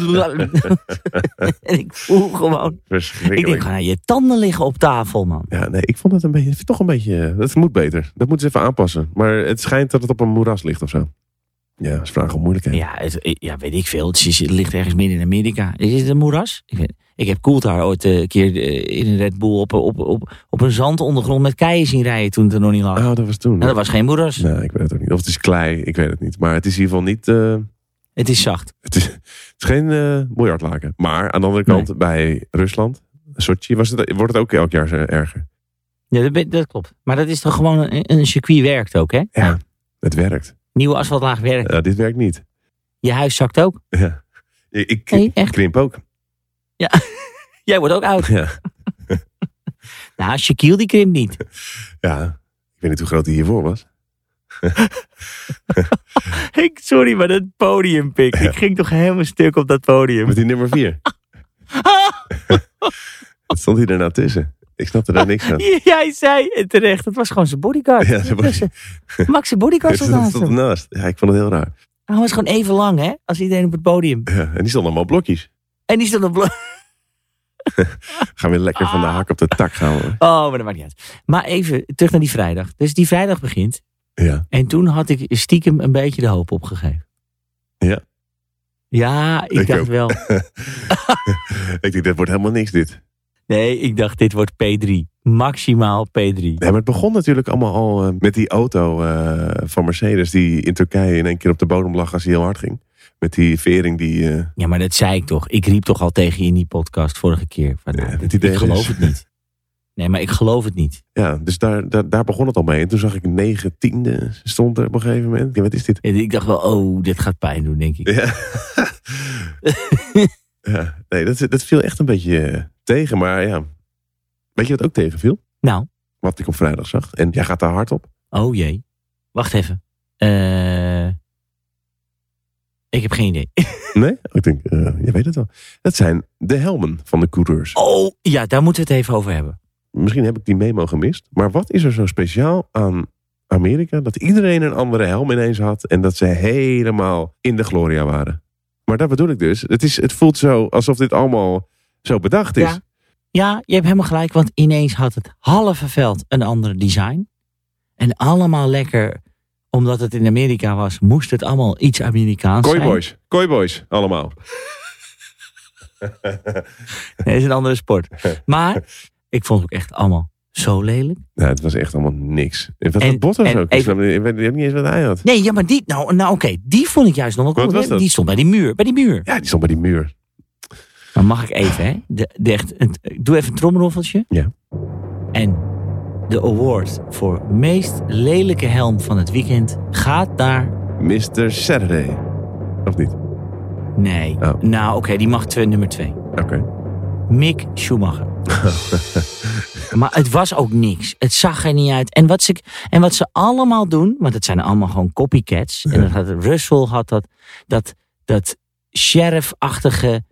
B: zo. [LAUGHS] en ik voel gewoon. Ik denk,
A: Verschrikkelijk.
B: gewoon, nou, je tanden liggen op tafel, man.
A: Ja, nee, ik vond dat een beetje, toch een beetje, eh, dat moet beter. Dat moeten ze even aanpassen. Maar het schijnt dat het op een moeras ligt of zo. Ja, dat is vraag om moeilijkheid.
B: Ja, het, eh, ja weet ik veel. Het, is, het ligt ergens midden in Amerika. Is het een moeras? Ik, weet- ik heb Coulthard ooit eh, een keer eh, in een Red Bull op, op, op, op een zandondergrond met keien zien rijden toen het er nog niet lag.
A: Ah, dat was toen.
B: Nou, dat was geen moeras.
A: Nou, ik weet het ook niet. Of het is klei, ik weet het niet. Maar het is in ieder geval niet, eh,
B: Het is zacht.
A: het is, het is geen eh miljardlaken. Maar aan de andere kant, bij Rusland, Sochi, was het, wordt het ook elk jaar eh, erger.
B: Ja, dat, ben- dat klopt. Maar dat is toch gewoon een, een circuit werkt ook, hè?
A: Ja, het werkt.
B: Nieuwe asfaltlaag werkt.
A: Ja, dit werkt niet.
B: Je huis zakt ook.
A: Ja. Ik, ik
B: Nee, echt.
A: krimp ook. [LAUGHS]
B: Jij wordt ook oud.
A: Ja.
B: Nou, Shaquille die krimpt niet.
A: ja, ik weet niet hoe groot hij hiervoor was.
B: [LAUGHS] Ik, sorry, maar dat podiumpik. Ik ging toch helemaal stuk op dat podium. [LAUGHS]
A: Met die nummer 4.
B: Ah,
A: Wat stond hij daarna tussen? Ik snapte daar niks
B: [LAUGHS]
A: van.
B: Jij zei het terecht. Het was gewoon zijn bodyguard.
A: Ja, zijn bodyguard.
B: Max zijn [LAUGHS] bodyguard stond
A: Dat
B: naast
A: stond
B: hem.
A: ernaast. Ja, ik vond het heel raar.
B: Hij was gewoon even lang, hè? Als iedereen op het podium.
A: Ja, en die stond allemaal blokjes.
B: En die stond op... blo- [LAUGHS]
A: Gaan we lekker van de
B: Ah.
A: hak op de tak gaan. we.
B: Oh, maar dat maakt niet uit. Maar even terug naar die vrijdag. Dus die vrijdag begint.
A: Ja.
B: En toen had ik stiekem een beetje de hoop opgegeven.
A: Ja.
B: Ja, ik
A: Ik
B: dacht
A: ook. [LAUGHS]
B: wel.
A: ik denk, dit wordt helemaal niks dit.
B: Nee, ik dacht dit wordt P3. Maximaal P3.
A: Nee, maar het begon natuurlijk allemaal al eh, met die auto eh, van Mercedes... die in Turkije in één keer op de bodem lag als hij heel hard ging. Met die vering die... eh,
B: Ja, maar dat zei ik toch. Ik riep toch al tegen je in die podcast vorige keer. Van, nou,
A: Ja,
B: dit-
A: het idee
B: ik geloof
A: is-
B: het niet. Nee, maar ik geloof het niet.
A: ja, dus daar, daar, daar begon het al mee. En toen zag ik negen tiende stond er op een gegeven moment. Ik denk, wat is dit?
B: En Ik dacht wel, oh, dit gaat pijn doen, denk ik. [LAUGHS]
A: Ja. ja, nee, dat, dat viel echt een beetje eh, tegen. Maar ja, weet je wat ook tegenviel?
B: Nou,
A: Wat ik op vrijdag zag. En jij gaat daar hard op.
B: oh jee. Wacht even. Eh, ik heb geen idee.
A: Nee? Ik denk, eh, je weet het wel. Dat zijn de helmen van de coureurs.
B: Oh, ja, daar moeten we het even over hebben.
A: Misschien heb ik die memo gemist. Maar wat is er zo speciaal aan Amerika? Dat iedereen een andere helm ineens had. En dat ze helemaal in de gloria waren. Maar dat bedoel ik dus. Het, is, het voelt zo alsof dit allemaal zo bedacht is.
B: Ja. Ja, je hebt helemaal gelijk, want ineens had het halve veld een ander design. En allemaal lekker, omdat het in Amerika was, moest het allemaal iets Amerikaans zijn.
A: Kooiboys. Kooiboys. [LAUGHS] Allemaal.
B: [LAUGHS] Nee, het is een andere
A: [LAUGHS]
B: sport. Maar ik vond het ook echt allemaal zo lelijk.
A: Nou, het was echt allemaal niks. En wat
B: En-
A: had Bottas
B: en
A: ook? Ik,
B: even-
A: snap niet- ik weet ik weet niet eens wat hij had.
B: Nee, ja, maar die, nou, nou oké, die vond ik juist nog wel
A: Wat
B: cool.
A: was
B: hè?
A: dat?
B: Die stond bij die muur, bij die muur.
A: Ja, die stond bij die muur.
B: Dan mag ik even, hè? De, de echt, een- doe even een tromroffeltje.
A: Ja.
B: En de award voor meest lelijke helm van het weekend gaat naar...
A: Mr. Saturday. Of niet?
B: Nee.
A: Oh.
B: Nou, oké, die mag twee, nummer twee.
A: Oké.
B: Mick Schumacher. maar het was ook niks. Het zag er niet uit. En wat ze, en wat ze allemaal doen, want het zijn allemaal gewoon copycats. En dat had, Russell had dat, dat, dat sheriff-achtige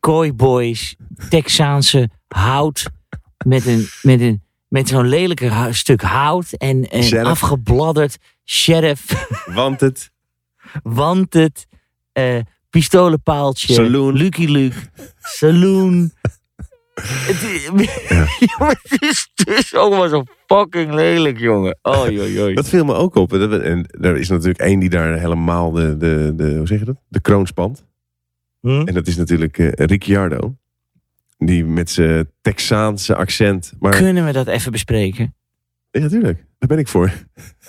B: cowboys, Texaanse hout met een, met een met zo'n lelijke hu- stuk hout en een
A: Sheriff.
B: afgebladderd sheriff,
A: Want het...
B: wanted, eh pistolenpaaltje,
A: Saloon.
B: Lucky Luke, saloon. [LAUGHS] het, [LAUGHS] Ja, maar het is dus allemaal zo fucking lelijk, jongen. Oh, joh, joh.
A: Dat viel me ook op. En dat- En er is natuurlijk één die daar helemaal de, de, de hoe zeg je dat? De kroon spant.
B: Hm?
A: En dat is natuurlijk eh, Ricciardo. Die met zijn Texaanse accent. Maar
B: Kunnen we dat even bespreken?
A: ja, natuurlijk. Daar ben ik voor.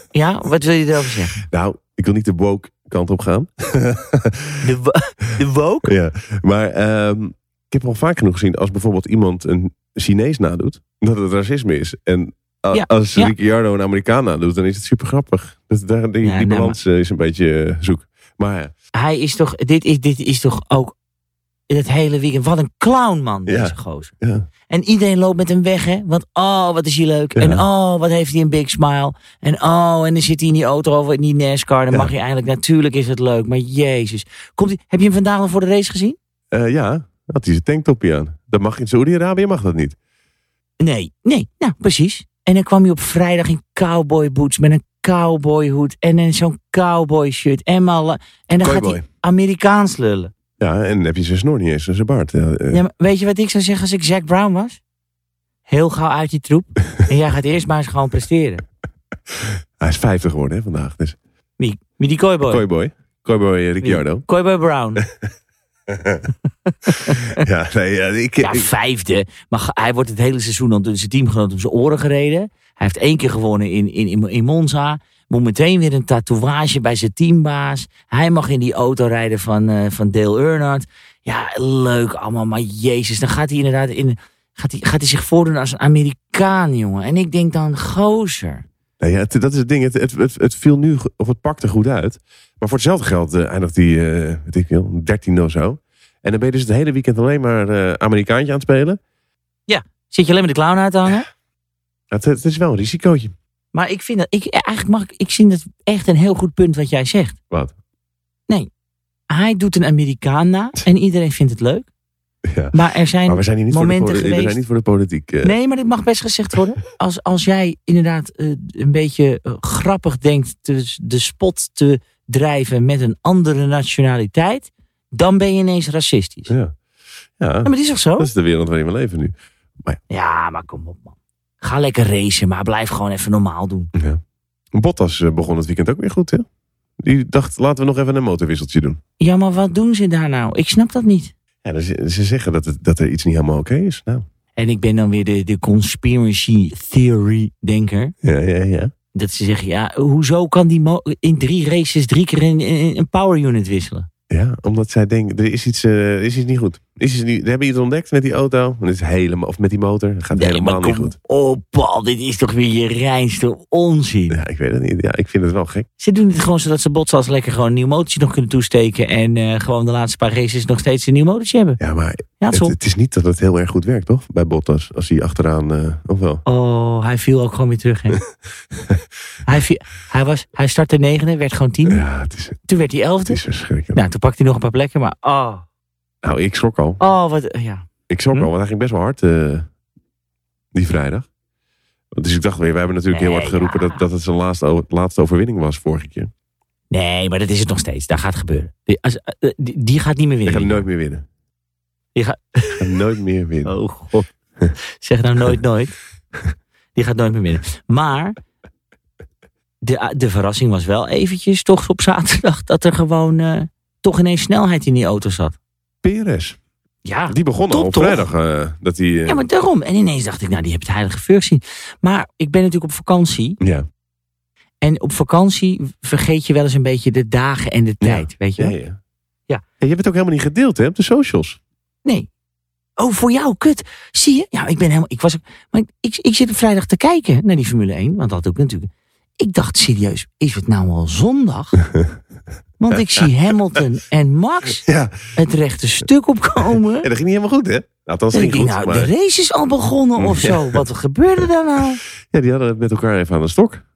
B: Ja, wat wil je erover zeggen?
A: Nou, ik wil niet de woke kant op
B: [LAUGHS]
A: gaan.
B: De, wo- [LAUGHS] de woke?
A: Ja, maar ehm, ik heb al vaak genoeg gezien als bijvoorbeeld iemand een Chinees nadoet, dat het racisme is. En a-
B: Ja,
A: als
B: ja.
A: Ricciardo een Amerikaan nadoet, dan is het super grappig. Dat, daar, die
B: Ja,
A: die
B: nou,
A: balans eh, is een beetje eh, zoek. Maar ja,
B: Hij is toch, dit is, dit is toch ook in het hele weekend. Wat een clown, man,
A: Ja.
B: deze gozer.
A: Ja.
B: En iedereen loopt met hem weg, hè. Want, oh, wat is hij leuk.
A: Ja.
B: En, oh, wat heeft hij een big smile. En, oh, en dan zit hij in die auto over in die E NASCAR. Dan
A: Ja.
B: mag je eindelijk, natuurlijk is het leuk. Maar jezus. Komt hij, heb je hem vandaag al voor de race gezien?
A: Eh, ja, had hij zijn tanktopje aan. Dat mag in Saoedi-Arabië mag dat niet.
B: Nee, nee, nou precies. En dan kwam hij op vrijdag in cowboy boots met een cowboyhoed en dan zo'n cowboy shirt en malle. En dan gaat hij
A: Cowboy.
B: Amerikaans lullen.
A: Ja, en dan heb je zijn snor niet eens en zijn baard. Ja, eh,
B: Ja, maar weet je wat ik zou zeggen als ik Zack Brown was? Heel gauw uit die troep. en jij gaat eerst maar eens gewoon presteren.
A: Hij is 50 geworden hè, vandaag. Dus.
B: Wie, wie die cowboy?
A: Kooiboy. Kooiboy eh, Ricciardo.
B: Cowboy Brown.
A: Ja, nee, ja, ik,
B: Ja,
A: ik-
B: vijfde. Maar ge- hij wordt het hele seizoen dan door zijn teamgenoot om zijn oren gereden. Hij heeft één keer gewonnen in, in, in, in Monza. Moet meteen weer een tatoeage bij zijn teambaas. Hij mag in die auto rijden van, eh, van Dale Earnhardt. Ja, leuk allemaal. Maar jezus, dan gaat hij inderdaad in... Gaat hij, gaat hij zich voordoen als een Amerikaan, jongen. En ik denk dan, gozer.
A: nee, ja, het- dat is het ding. Het, het, het, het viel nu, go- of het pakte goed uit. Maar voor hetzelfde geld eh, eindigt hij, eh, weet ik veel, 13 of zo. En dan ben je dus het hele weekend alleen maar eh, Amerikaantje aan het spelen.
B: Zit je alleen maar de clown uit te hangen?
A: Ja, Het, het is wel een risicootje. [LAUGHS]
B: Maar ik vind dat... Ik, eigenlijk mag ik... Ik vind dat echt een heel goed punt wat jij zegt.
A: Wat?
B: Hij doet een Amerikaan na. En iedereen vindt het leuk.
A: Ja.
B: Maar er zijn
A: Maar we zijn hier niet, voor de,
B: momenten
A: poli- we zijn
B: geweest-
A: niet voor de politiek. eh.
B: Nee, maar dit mag best
A: [LAUGHS]
B: gezegd worden. Als, als jij inderdaad eh, een beetje eh, grappig denkt te, de spot te drijven met een andere nationaliteit, dan ben je ineens racistisch. Ja,
A: Ja. ja,
B: maar die is toch zo?
A: dat is de wereld waarin we leven nu.
B: Ja, maar kom op man. Ga lekker racen, maar blijf gewoon even normaal doen.
A: Ja. Bottas eh, begon het weekend ook weer goed, hè? Die dacht, laten we nog even een motorwisseltje doen.
B: Ja, maar wat doen ze daar nou? Ik snap dat niet.
A: Ja, dus, eh, ze zeggen dat, het, dat er iets niet helemaal oké is. Nou,
B: En ik ben dan weer de, de conspiracy theory denker.
A: ja, ja, ja.
B: Dat ze zeggen, ja, hoezo kan die mo- in drie races drie keer een, een een power unit wisselen?
A: Ja, omdat zij denken, er is iets, eh, er is iets niet goed. Is iets niet, we hebben iets ontdekt met die auto. En het is helemaal, of met die motor. Het gaat
B: Nee,
A: helemaal
B: maar
A: niet
B: kom
A: goed.
B: op, Paul, dit is toch weer je reinste onzin.
A: Ja, ik weet het niet. Ja, ik vind het wel gek.
B: Ze doen het gewoon zodat ze botsen als lekker gewoon een nieuw motortje nog kunnen toesteken. En eh, gewoon de laatste paar races nog steeds een nieuw motortje hebben.
A: Ja, maar
B: Ja, het
A: het,
B: is op.
A: het is niet dat het heel erg goed werkt, toch? Bij Bottas, als hij achteraan, eh of wel?
B: Oh, hij viel ook gewoon weer
A: [LAUGHS]
B: terug. Hè? hij, viel- hij, was, hij startte negende, werd gewoon tiende.
A: Ja, het is,
B: Toen werd hij
A: het
B: elfde.
A: is verschrikkelijk.
B: Nou, toen pakte hij nog een paar plekken. Maar oh,
A: Nou, ik schrok al.
B: oh wat, ja.
A: Ik schrok
B: Hm?
A: al, want hij ging best wel hard eh, die vrijdag. Dus ik dacht weer, we hebben natuurlijk heel hard
B: Nee,
A: geroepen
B: ja.
A: dat, dat het zijn laatste, o- laatste overwinning was vorige keer.
B: Nee, maar dat is het nog steeds. Dat gaat gebeuren. Die, als- eh, die, die gaat niet meer
A: Ik
B: winnen.
A: ga nooit meer winnen.
B: Je gaat-
A: Ik ga nooit meer winnen.
B: Oh god. [LAUGHS] Zeg nou nooit nooit. Die gaat nooit meer winnen. Maar de, de verrassing was wel eventjes toch op zaterdag dat er gewoon eh, toch ineens snelheid in die auto zat.
A: Perez,
B: Ja.
A: die begon al
B: top,
A: op
B: toch?
A: vrijdag. eh, dat hij, eh,
B: Ja, maar daarom. En ineens dacht ik, nou, die heb het heilige vuur gezien. Maar ik ben natuurlijk op vakantie.
A: ja.
B: En op vakantie vergeet je wel eens een beetje de dagen en de
A: Ja.
B: tijd, weet je
A: Ja,
B: wel?
A: ja. En je hebt het ook helemaal niet gedeeld hè, op de socials.
B: Nee. Oh, voor jou, kut. Zie je? Ja, ik ben helemaal. Ik was. ook- Maar ik, ik, ik zit op vrijdag te kijken naar die Formule 1. Want dat ook natuurlijk. Ik dacht serieus, is het nou al
A: [LAUGHS]
B: zondag? Want ik zie Hamilton en
A: [LAUGHS]
B: Max
A: Ja.
B: het rechte stuk opkomen.
A: En [LAUGHS] dat ging niet helemaal goed, hè? Nou, althans,
B: En ik
A: ging
B: denk,
A: goed.
B: nou,
A: maar,
B: de race is al begonnen of zo.
A: [LAUGHS]
B: Wat gebeurde daar nou?
A: Ja, die hadden het met elkaar even aan de stok.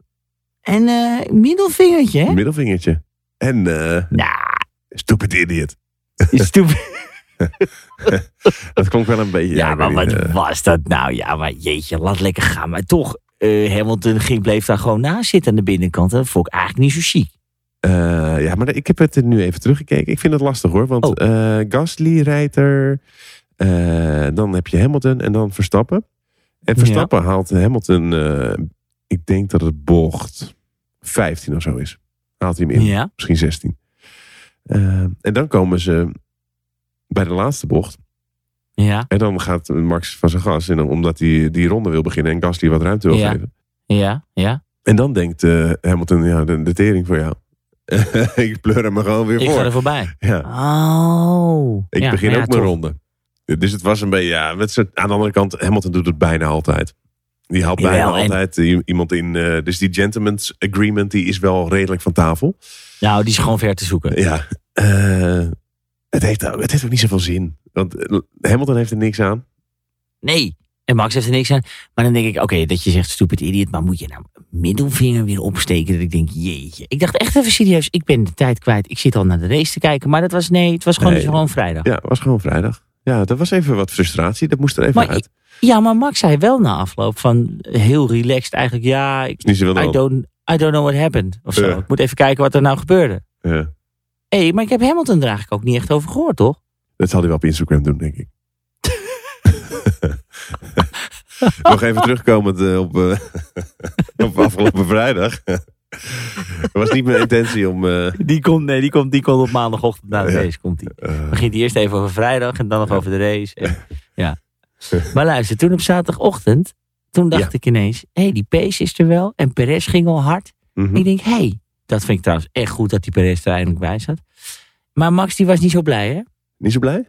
B: En eh middelvingertje,
A: [LAUGHS]
B: hè?
A: Middelvingertje. En eh
B: Nou,
A: stupid idiot.
B: is toen.
A: Dat klonk wel een beetje...
B: Ja,
A: ik
B: maar
A: weet
B: wat
A: niet, eh,
B: was dat nou? Ja, maar jeetje, laat lekker gaan. Maar toch, eh, Hamilton ging, bleef daar gewoon naast zitten aan de binnenkant. Dat vond ik eigenlijk niet zo chic.
A: Eh, ja, maar ik heb het nu even teruggekeken. Ik vind het lastig hoor. Want
B: Oh.
A: eh, Gasly rijdt er. eh, dan heb je Hamilton en dan Verstappen. En Verstappen haalt Hamilton. eh, ik denk dat het bocht 15 of zo is. Haalt hij hem in.
B: Ja.
A: Misschien 16. Eh, en dan komen ze bij de laatste bocht.
B: Ja,
A: En dan gaat Max van zijn gas. En dan, omdat hij die ronde wil beginnen. En Gasly wat ruimte wil
B: Ja.
A: geven.
B: ja, ja.
A: En dan denkt eh, Hamilton. Ja, de, de tering voor jou. [LAUGHS] ik pleur hem er gewoon weer
B: Ik
A: voor.
B: ga er
A: [LAUGHS]
B: voorbij.
A: Ja.
B: Oh.
A: Ik
B: Ja,
A: begin
B: maar ja,
A: ook mijn
B: toch.
A: ronde. Dus het was een beetje, ja, het soort- aan de andere kant, Hamilton doet het bijna altijd. Die haalt bijna
B: Jawel, en-
A: altijd i- iemand in. eh, dus die gentleman's agreement, die is wel redelijk van tafel.
B: Nou, die is gewoon ver te zoeken.
A: Ja. eh, het heeft, ook- het heeft ook niet zoveel zin. Want eh, Hamilton heeft er niks aan.
B: Nee. En Max heeft er niks aan. Maar dan denk ik, oké, dat je zegt stupid idiot. Maar moet je nou middelvinger weer opsteken? Dat ik denk, jeetje. Ik dacht echt even serieus, ik ben de tijd kwijt. Ik zit al naar de race te kijken. Maar dat was, nee, het was gewoon,
A: Nee.
B: het was gewoon vrijdag.
A: Ja, het was gewoon vrijdag. Ja, dat was even wat frustratie. Dat moest er even
B: Maar
A: uit.
B: Ja, maar Max zei wel na afloop van heel relaxed eigenlijk. Ja, ik,
A: Is Dus niet zoveel
B: I,
A: aan.
B: don't, I don't know what happened. Of zo.
A: Ja.
B: Ik moet even kijken wat er nou gebeurde.
A: Ja.
B: Hé, maar ik heb Hamilton er eigenlijk ook niet echt over gehoord, toch?
A: Dat zal hij wel op Instagram doen, denk ik. [LAUGHS] Nog even terugkomend eh, op, eh, [LAUGHS] op afgelopen vrijdag. Het was niet mijn intentie om... eh,
B: Die komt, nee, die komt, die komt op maandagochtend na de
A: Ja.
B: race. Komt die.
A: eh,
B: begint hij eerst even over vrijdag en dan nog over de race. En, ja. Maar luister, toen op zaterdagochtend, toen dacht
A: Ja.
B: ik ineens, hé, hey, die Pace is er wel. En Perez ging al hard.
A: mhm.
B: Ik denk, hé, hey, dat vind ik trouwens echt goed dat die Perez er eindelijk bij zat. Maar Max die was niet zo blij, hè?
A: Niet zo blij?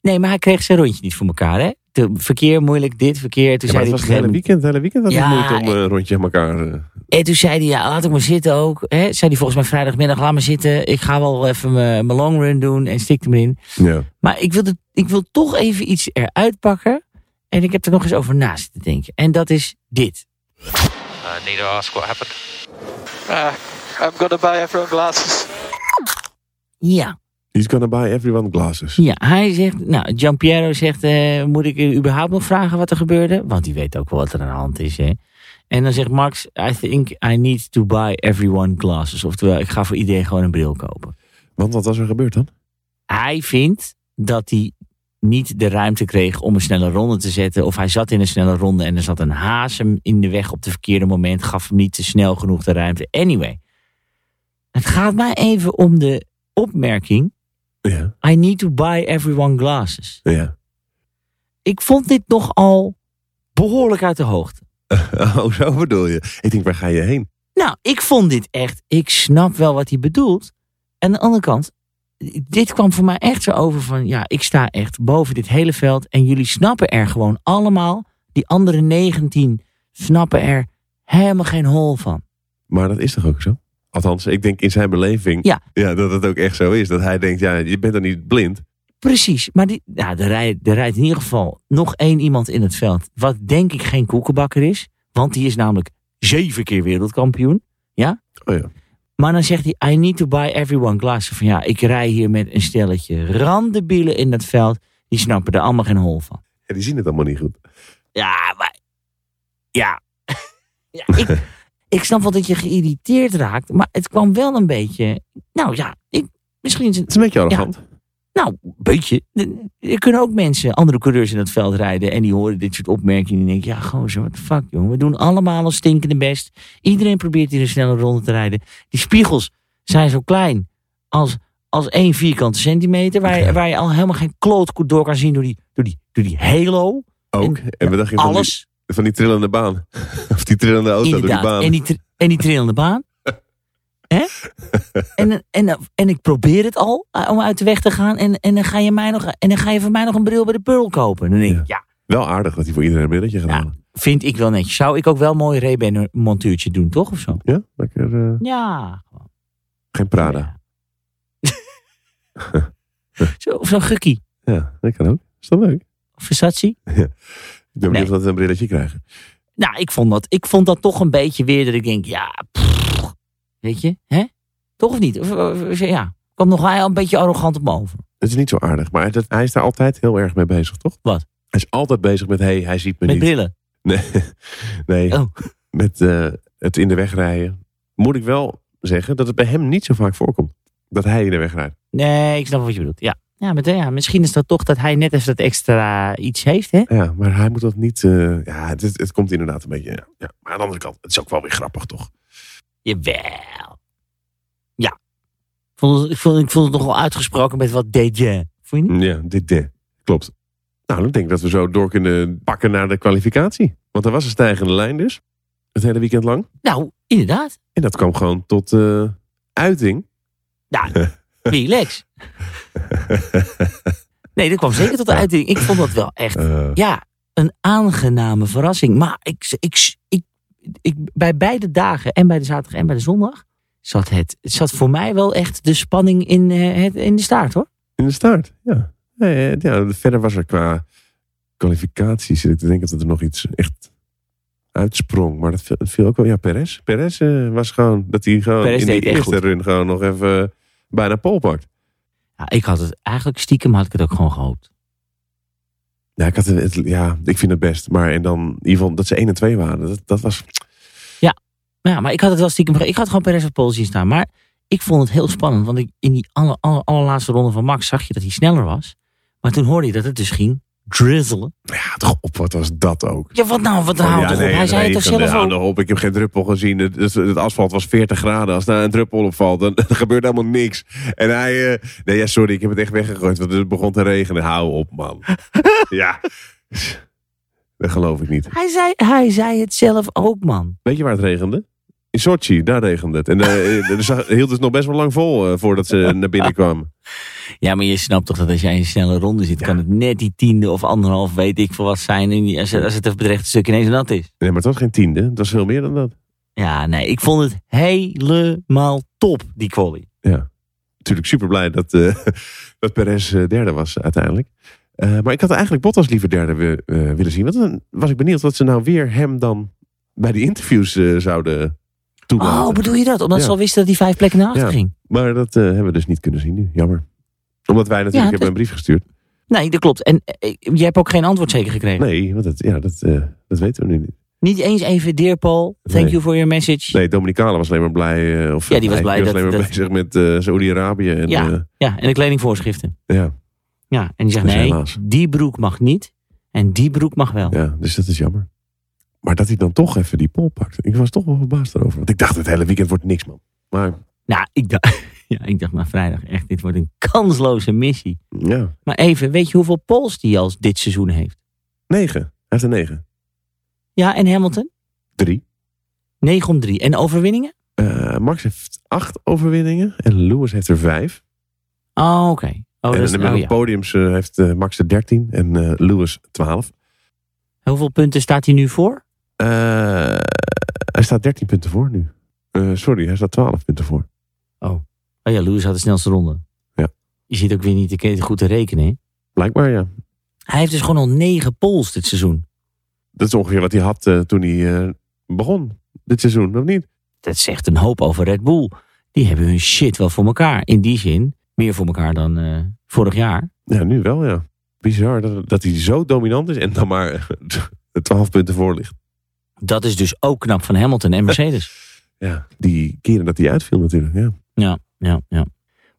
B: Nee, maar hij kreeg zijn rondje niet voor elkaar, hè? De verkeer moeilijk, dit verkeer. Toen
A: Ja, maar
B: zei
A: het was
B: hij op
A: het
B: een
A: hele
B: gegeven
A: weekend.
B: moment-
A: Het hele weekend was het
B: Ja,
A: moeite om eh, een rondje aan elkaar... eh,
B: En toen zei hij, ja, laat ik maar zitten ook. Hè? Zei hij volgens mij vrijdagmiddag, laat maar zitten. Ik ga wel even mijn mijn long run doen en stikte me in.
A: ja.
B: Maar ik wil, het- ik wil toch even iets eruit pakken. En ik heb er nog eens over na zitten denken. En dat is dit.
D: I need to ask what happened.
E: Uh, I'm gonna buy everyone glasses.
B: Ja,
A: He's gonna buy everyone glasses.
B: ja. hij zegt, nou, Giampiero zegt, eh, moet ik u überhaupt nog vragen wat er gebeurde? Want die weet ook wel wat er aan de hand is, hè. En dan zegt Max, I think I need to buy everyone glasses. Oftewel, ik ga voor iedereen gewoon een bril kopen.
A: Want wat was er gebeurd dan?
B: Hij vindt dat hij niet de ruimte kreeg om een snelle ronde te zetten. Of hij zat in een snelle ronde en er zat een haas hem in de weg op het verkeerde moment. Gaf hem niet te snel genoeg de ruimte. Anyway, het gaat mij even om de opmerking.
A: Ja.
B: I need to buy everyone glasses.
A: ja. [LAUGHS]
B: Ik vond dit nogal behoorlijk uit de hoogte.
A: Oh, zo bedoel je. Ik denk, waar ga je heen?
B: Nou, ik vond dit echt. Ik snap wel wat hij bedoelt. Aan de andere kant, dit kwam voor mij echt zo over van: ja, ik sta echt boven dit hele veld. En jullie snappen er gewoon allemaal. Die andere 19 snappen er helemaal geen hol van.
A: Maar dat is toch ook zo? Althans, ik denk in zijn beleving
B: Ja.
A: dat het ook echt zo is. Dat hij denkt, ja, je bent dan niet blind.
B: Precies, maar die, nou, er, rijdt, er rijdt in ieder geval nog één iemand in het veld. Wat denk ik geen koekenbakker is. Want die is namelijk zeven keer wereldkampioen.
A: Oh ja.
B: Maar dan zegt hij, I need to buy everyone glasses. Van ja, ik rij hier met een stelletje randebielen in dat veld. Die snappen er allemaal geen hol van.
A: ja die zien het allemaal niet goed.
B: Ja, maar... Ja. [LAUGHS] ja
A: [LAUGHS]
B: ik, ik snap wel dat je geïrriteerd raakt. Maar het kwam wel een beetje... Nou ja, ik, misschien is het
A: Het is een beetje arrogant.
B: nou, een beetje. Er kunnen ook mensen, andere coureurs in het veld rijden. En die horen dit soort opmerkingen. En die denken, ja gozer, what the fuck jongen. We doen allemaal ons stinkende best. Iedereen probeert hier een snelle ronde te rijden. Die spiegels zijn zo klein als, als één vierkante centimeter. Waar, je- waar je al helemaal geen kloot goed door kan zien door die, door die, door die halo.
A: Ook. En, we dachten van die,
B: Alles,
A: van die trillende baan. [LAUGHS] of die trillende auto
B: inderdaad.
A: Oh, door die
B: En,
A: baan.
B: die, tri- en die trillende
A: [LAUGHS]
B: baan. Hè? En, en, en ik probeer het al eh, om uit de weg te gaan. En, en, dan ga je mij nog, en dan ga je van mij nog een bril bij de Pearl kopen. Dan denk ik, ja,
A: Wel aardig dat hij voor iedereen een brilletje gaat
B: Ja.
A: halen.
B: Vind ik wel netjes. Zou ik ook wel een mooi Ray-Ban montuurtje doen, toch? Of zo?
A: Ja, lekker. eh,
B: Ja. gewoon.
A: geen Prada.
B: [LAUGHS] Zo, of zo'n Gukkie.
A: Ja. dat kan ook. Is dat leuk?
B: Of Versace.
A: Ik ben
B: Nee.
A: benieuwd dat we een brilletje krijgen.
B: Nou, ik vond, dat, ik vond dat toch een beetje weer dat ik denk, ja, pff, weet je, hè? Toch of niet? Of, of- of- ja, kwam nog wel een beetje arrogant op me over.
A: Het is niet zo aardig. Maar dat, hij is daar altijd heel erg mee bezig, toch?
B: Wat?
A: Hij is altijd bezig met, hey, hij ziet me
B: Met
A: niet.
B: brillen.
A: Nee, [LAUGHS] nee.
B: Oh.
A: met eh, het in de weg rijden. Moet ik wel zeggen dat het bij hem niet zo vaak voorkomt. Dat hij in de weg rijdt.
B: Nee, ik snap wat je bedoelt. Ja, ja, maar, ja misschien is dat toch dat hij net even dat extra iets heeft, hè?
A: Ja, maar hij moet dat niet... eh, ja, het, is- het komt inderdaad een beetje... Ja, ja. Maar aan de andere kant, het is ook wel weer grappig, toch?
B: Jawel. Ja. Ik vond het, ik vond, ik vond het nogal uitgesproken met wat deed je. Vond je niet?
A: Ja, dit de. Klopt. Nou, dan denk ik dat we zo door kunnen pakken naar de kwalificatie. Want er was een stijgende lijn dus. Het hele weekend lang.
B: Nou, inderdaad.
A: En dat kwam gewoon tot eh, uiting.
B: Nou, relax. Nee, dat kwam zeker tot de uiting. Ik vond dat wel echt,
A: Eh,
B: ja, een aangename verrassing. Maar ik, ik, ik, ik, bij beide dagen, en bij de zaterdag en bij de zondag, zat, het, zat voor mij wel echt de spanning in, eh, het, in de staart hoor.
A: In de start, ja. Ja, ja, ja. Verder was er qua kwalificaties. Ik denk dat er nog iets echt uitsprong. Maar dat viel, dat viel ook wel. Ja, Perez. Perez eh, was gewoon. Dat hij gewoon
B: Perez
A: in die
B: deed echt
A: eerste
B: goed.
A: run gewoon nog even eh, bijna pol pakt.
B: Ja, ik had het eigenlijk stiekem had ik het ook gewoon gehoopt.
A: Ja, ik, had het, het- ja, ik vind het best. Maar en dan, in ieder geval, dat ze 1 en 2 waren. Dat, dat was.
B: Ja, maar ik had het wel stiekem. ge- Ik had gewoon Perez op pole zien staan. Maar ik vond het heel spannend. Want ik, in die alle, alle, allerlaatste ronde van Max zag je dat hij sneller was. Maar toen hoorde je dat het dus ging drizzelen.
A: Ja, toch op. Wat was dat ook?
B: Ja, wat nou? Wat nou?
A: Oh ja,
B: toch op? Hij zei het toch
A: regen,
B: zelf
A: ja,
B: ook?
A: nou op, ik heb geen druppel gezien. Het, het- het asfalt was 40 graden. Als daar een druppel op valt, dan, [LAUGHS] dan gebeurt helemaal niks. En hij... eh, nee, ja, sorry, ik heb het echt weggegooid, want het begon te regenen. Hou op,
B: [LAUGHS]
A: man. ja. Dat geloof ik niet.
B: Hij zei, hij zei het zelf ook, man.
A: Weet je waar het regende? In Sochi, daar regende het. En
B: [LAUGHS]
A: eh, eh, er zag- hield het nog best wel lang vol eh, voordat ze naar binnen kwamen.
B: Ja, maar je snapt toch dat als jij in een snelle ronde zit, kan het net die tiende of anderhalf, weet ik veel wat zijn. En die- als het, als het bedreigde stuk ineens nat is.
A: Nee, maar het was geen tiende. Het was veel meer dan dat.
B: Ja, nee, ik vond het helemaal top, die quali.
A: natuurlijk super blij dat, eh [LAUGHS] dat Perez eh, derde was uiteindelijk. Eh, maar ik had eigenlijk Bottas liever derde wi- eh, willen zien. Want dan was ik benieuwd wat ze nou weer hem dan bij die interviews eh, zouden toelaten.
B: Oh, bedoel je dat? Omdat
A: Ja.
B: ze al wisten dat die vijf plekken naar achter
A: Ja.
B: ging.
A: Maar dat eh, hebben we dus niet kunnen zien nu. Jammer. Omdat wij natuurlijk
B: Ja,
A: hebben een brief gestuurd.
B: Nee, dat klopt. En eh, je hebt ook geen antwoord zeker gekregen.
A: Nee, want dat, ja, dat, eh, dat weten we nu niet.
B: Niet eens even, dear Paul, thank
A: Nee.
B: you for your message.
A: Nee, Dominicale was alleen maar blij. eh, of,
B: Ja, die was blij dat-
A: alleen maar
B: dat-
A: bezig met eh Saoedi-Arabië. En,
B: Ja.
A: eh,
B: Ja, en de kledingvoorschriften.
A: ja,
B: Ja, en die zegt,
A: Dus
B: nee,
A: helaas.
B: die broek mag niet en die broek mag wel.
A: ja, dus dat is jammer. Maar dat hij dan toch even die pol pakt. Ik was toch wel verbaasd daarover. Want ik dacht, het hele weekend wordt niks, man. Maar
B: Nou, ik dacht, [LAUGHS] ja, ik dacht maar vrijdag echt, dit wordt een kansloze missie.
A: Ja,
B: Maar even, weet je hoeveel pols die als dit seizoen heeft?
A: 9. Hij heeft een 9.
B: Ja, en Hamilton?
A: 3.
B: 9 om 3. En overwinningen?
A: Eh, Max heeft 8 overwinningen en Lewis heeft er 5.
B: Oh, oké. Oh,
A: en
B: dat
A: dan
B: is,
A: hebben we
B: oh,
A: nog
B: ja.
A: podiums eh, heeft eh, Max er 13 en eh, Lewis 12.
B: Hoeveel punten staat hij nu voor?
A: Eh, hij staat 13 punten voor nu. Eh, sorry, hij staat 12 punten voor.
B: Oh ja, Lewis had de snelste ronde.
A: Ja.
B: Je ziet ook weer niet te- goed te rekenen. hè?
A: Blijkbaar ja.
B: Hij heeft dus gewoon al 9 pols dit seizoen.
A: Dat is ongeveer wat hij had eh, toen hij eh, begon. Dit seizoen, of niet?
B: Dat zegt een hoop over Red Bull. Die hebben hun shit wel voor elkaar. In die zin, meer voor elkaar dan eh, vorig jaar.
A: Ja, nu wel ja. Bizar dat, dat hij zo dominant is en dan maar [LAUGHS] eh, 12 punten voor ligt.
B: Dat is dus ook knap van Hamilton
A: [LAUGHS]
B: en Mercedes.
A: Ja, die keren dat hij uitviel natuurlijk. Ja.
B: ja, ja.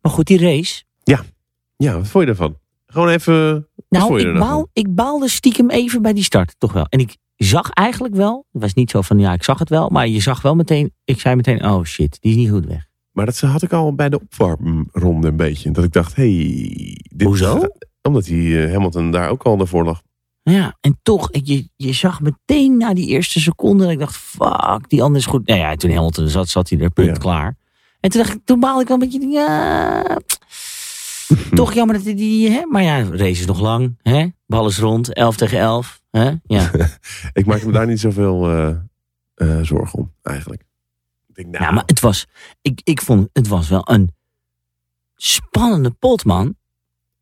B: Maar goed, die race.
A: Ja, wat vond je daarvan? Gewoon even. vond
B: Nou,
A: je er
B: ik,
A: nou
B: baal,
A: van?
B: ik baalde stiekem even bij die start, toch wel. En ik zag eigenlijk wel, het was niet zo van ja, ik zag het wel, maar je zag wel meteen, ik zei meteen, oh shit, die is niet goed weg.
A: Maar dat had ik al bij de opwarmronde een beetje. Dat ik dacht, hé. Hey, dit-
B: Hoezo?
A: Omdat die eh, Hamilton daar ook al daarvoor lag.
B: Ja, en toch, je, je zag meteen na die eerste seconde, dat ik dacht, fuck, die ander is goed. Nou ja, toen Hamilton zat, zat hij er, punt,
A: Ja.
B: klaar. En toen dacht ik, toen baalde ik wel een beetje,
A: [LAUGHS]
B: ja, toch jammer dat die- die, hè, maar ja, race is nog lang, hè, bal is rond, 11 tegen 11, hè, ja.
A: [LAUGHS] Ik maak me daar niet zoveel eh, eh, zorgen om, eigenlijk. Ik denk, nou,
B: Ja, maar het was, ik, ik vond het was wel een spannende pot, man.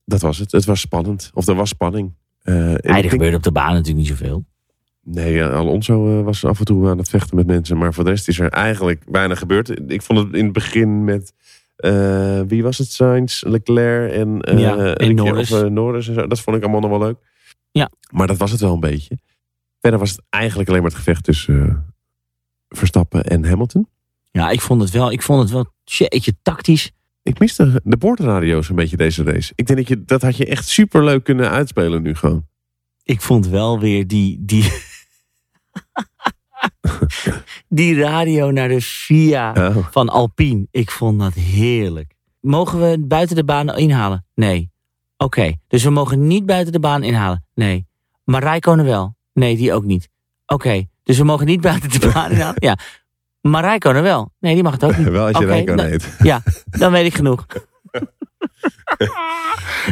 A: dat was het. Het was spannend. Of er was spanning. Eh, en ik
B: Ja, er
A: denk-
B: gebeurde op de baan natuurlijk niet zoveel.
A: Nee, ja, Alonso eh, was af en toe aan het vechten met mensen. Maar voor de rest is er eigenlijk weinig gebeurd. Ik vond het in het begin met... eh, wie was het? Sainz, Leclerc en, eh,
B: Ja, en
A: Ricciardo,
B: Norris.
A: of, eh, Norris en zo. Dat vond ik allemaal nog wel leuk.
B: Ja.
A: Maar dat was het wel een beetje. Verder was het eigenlijk alleen maar het gevecht tussen eh, Verstappen en Hamilton.
B: Ja, ik vond het wel, ik vond het wel, jeetje, tactisch.
A: Ik miste de boordradio's een beetje deze race. Ik denk dat je dat had je echt super leuk kunnen uitspelen nu gewoon.
B: Ik vond wel weer die, die, [LAUGHS] die radio naar de VIA
A: Ja.
B: van Alpine. Ik vond dat heerlijk. Mogen we het buiten de baan inhalen? Nee. Oké, dus we mogen niet buiten de baan inhalen? Nee. Maar Rijkonen wel? Nee, die ook niet. Oké, dus we mogen niet buiten de baan inhalen? Ja. Maar Rijkonen wel? Nee, die mag het ook niet.
A: Wel als je
B: Oké,
A: Rijko
B: nou-
A: heet.
B: Ja, dan weet ik
A: [LAUGHS]
B: genoeg.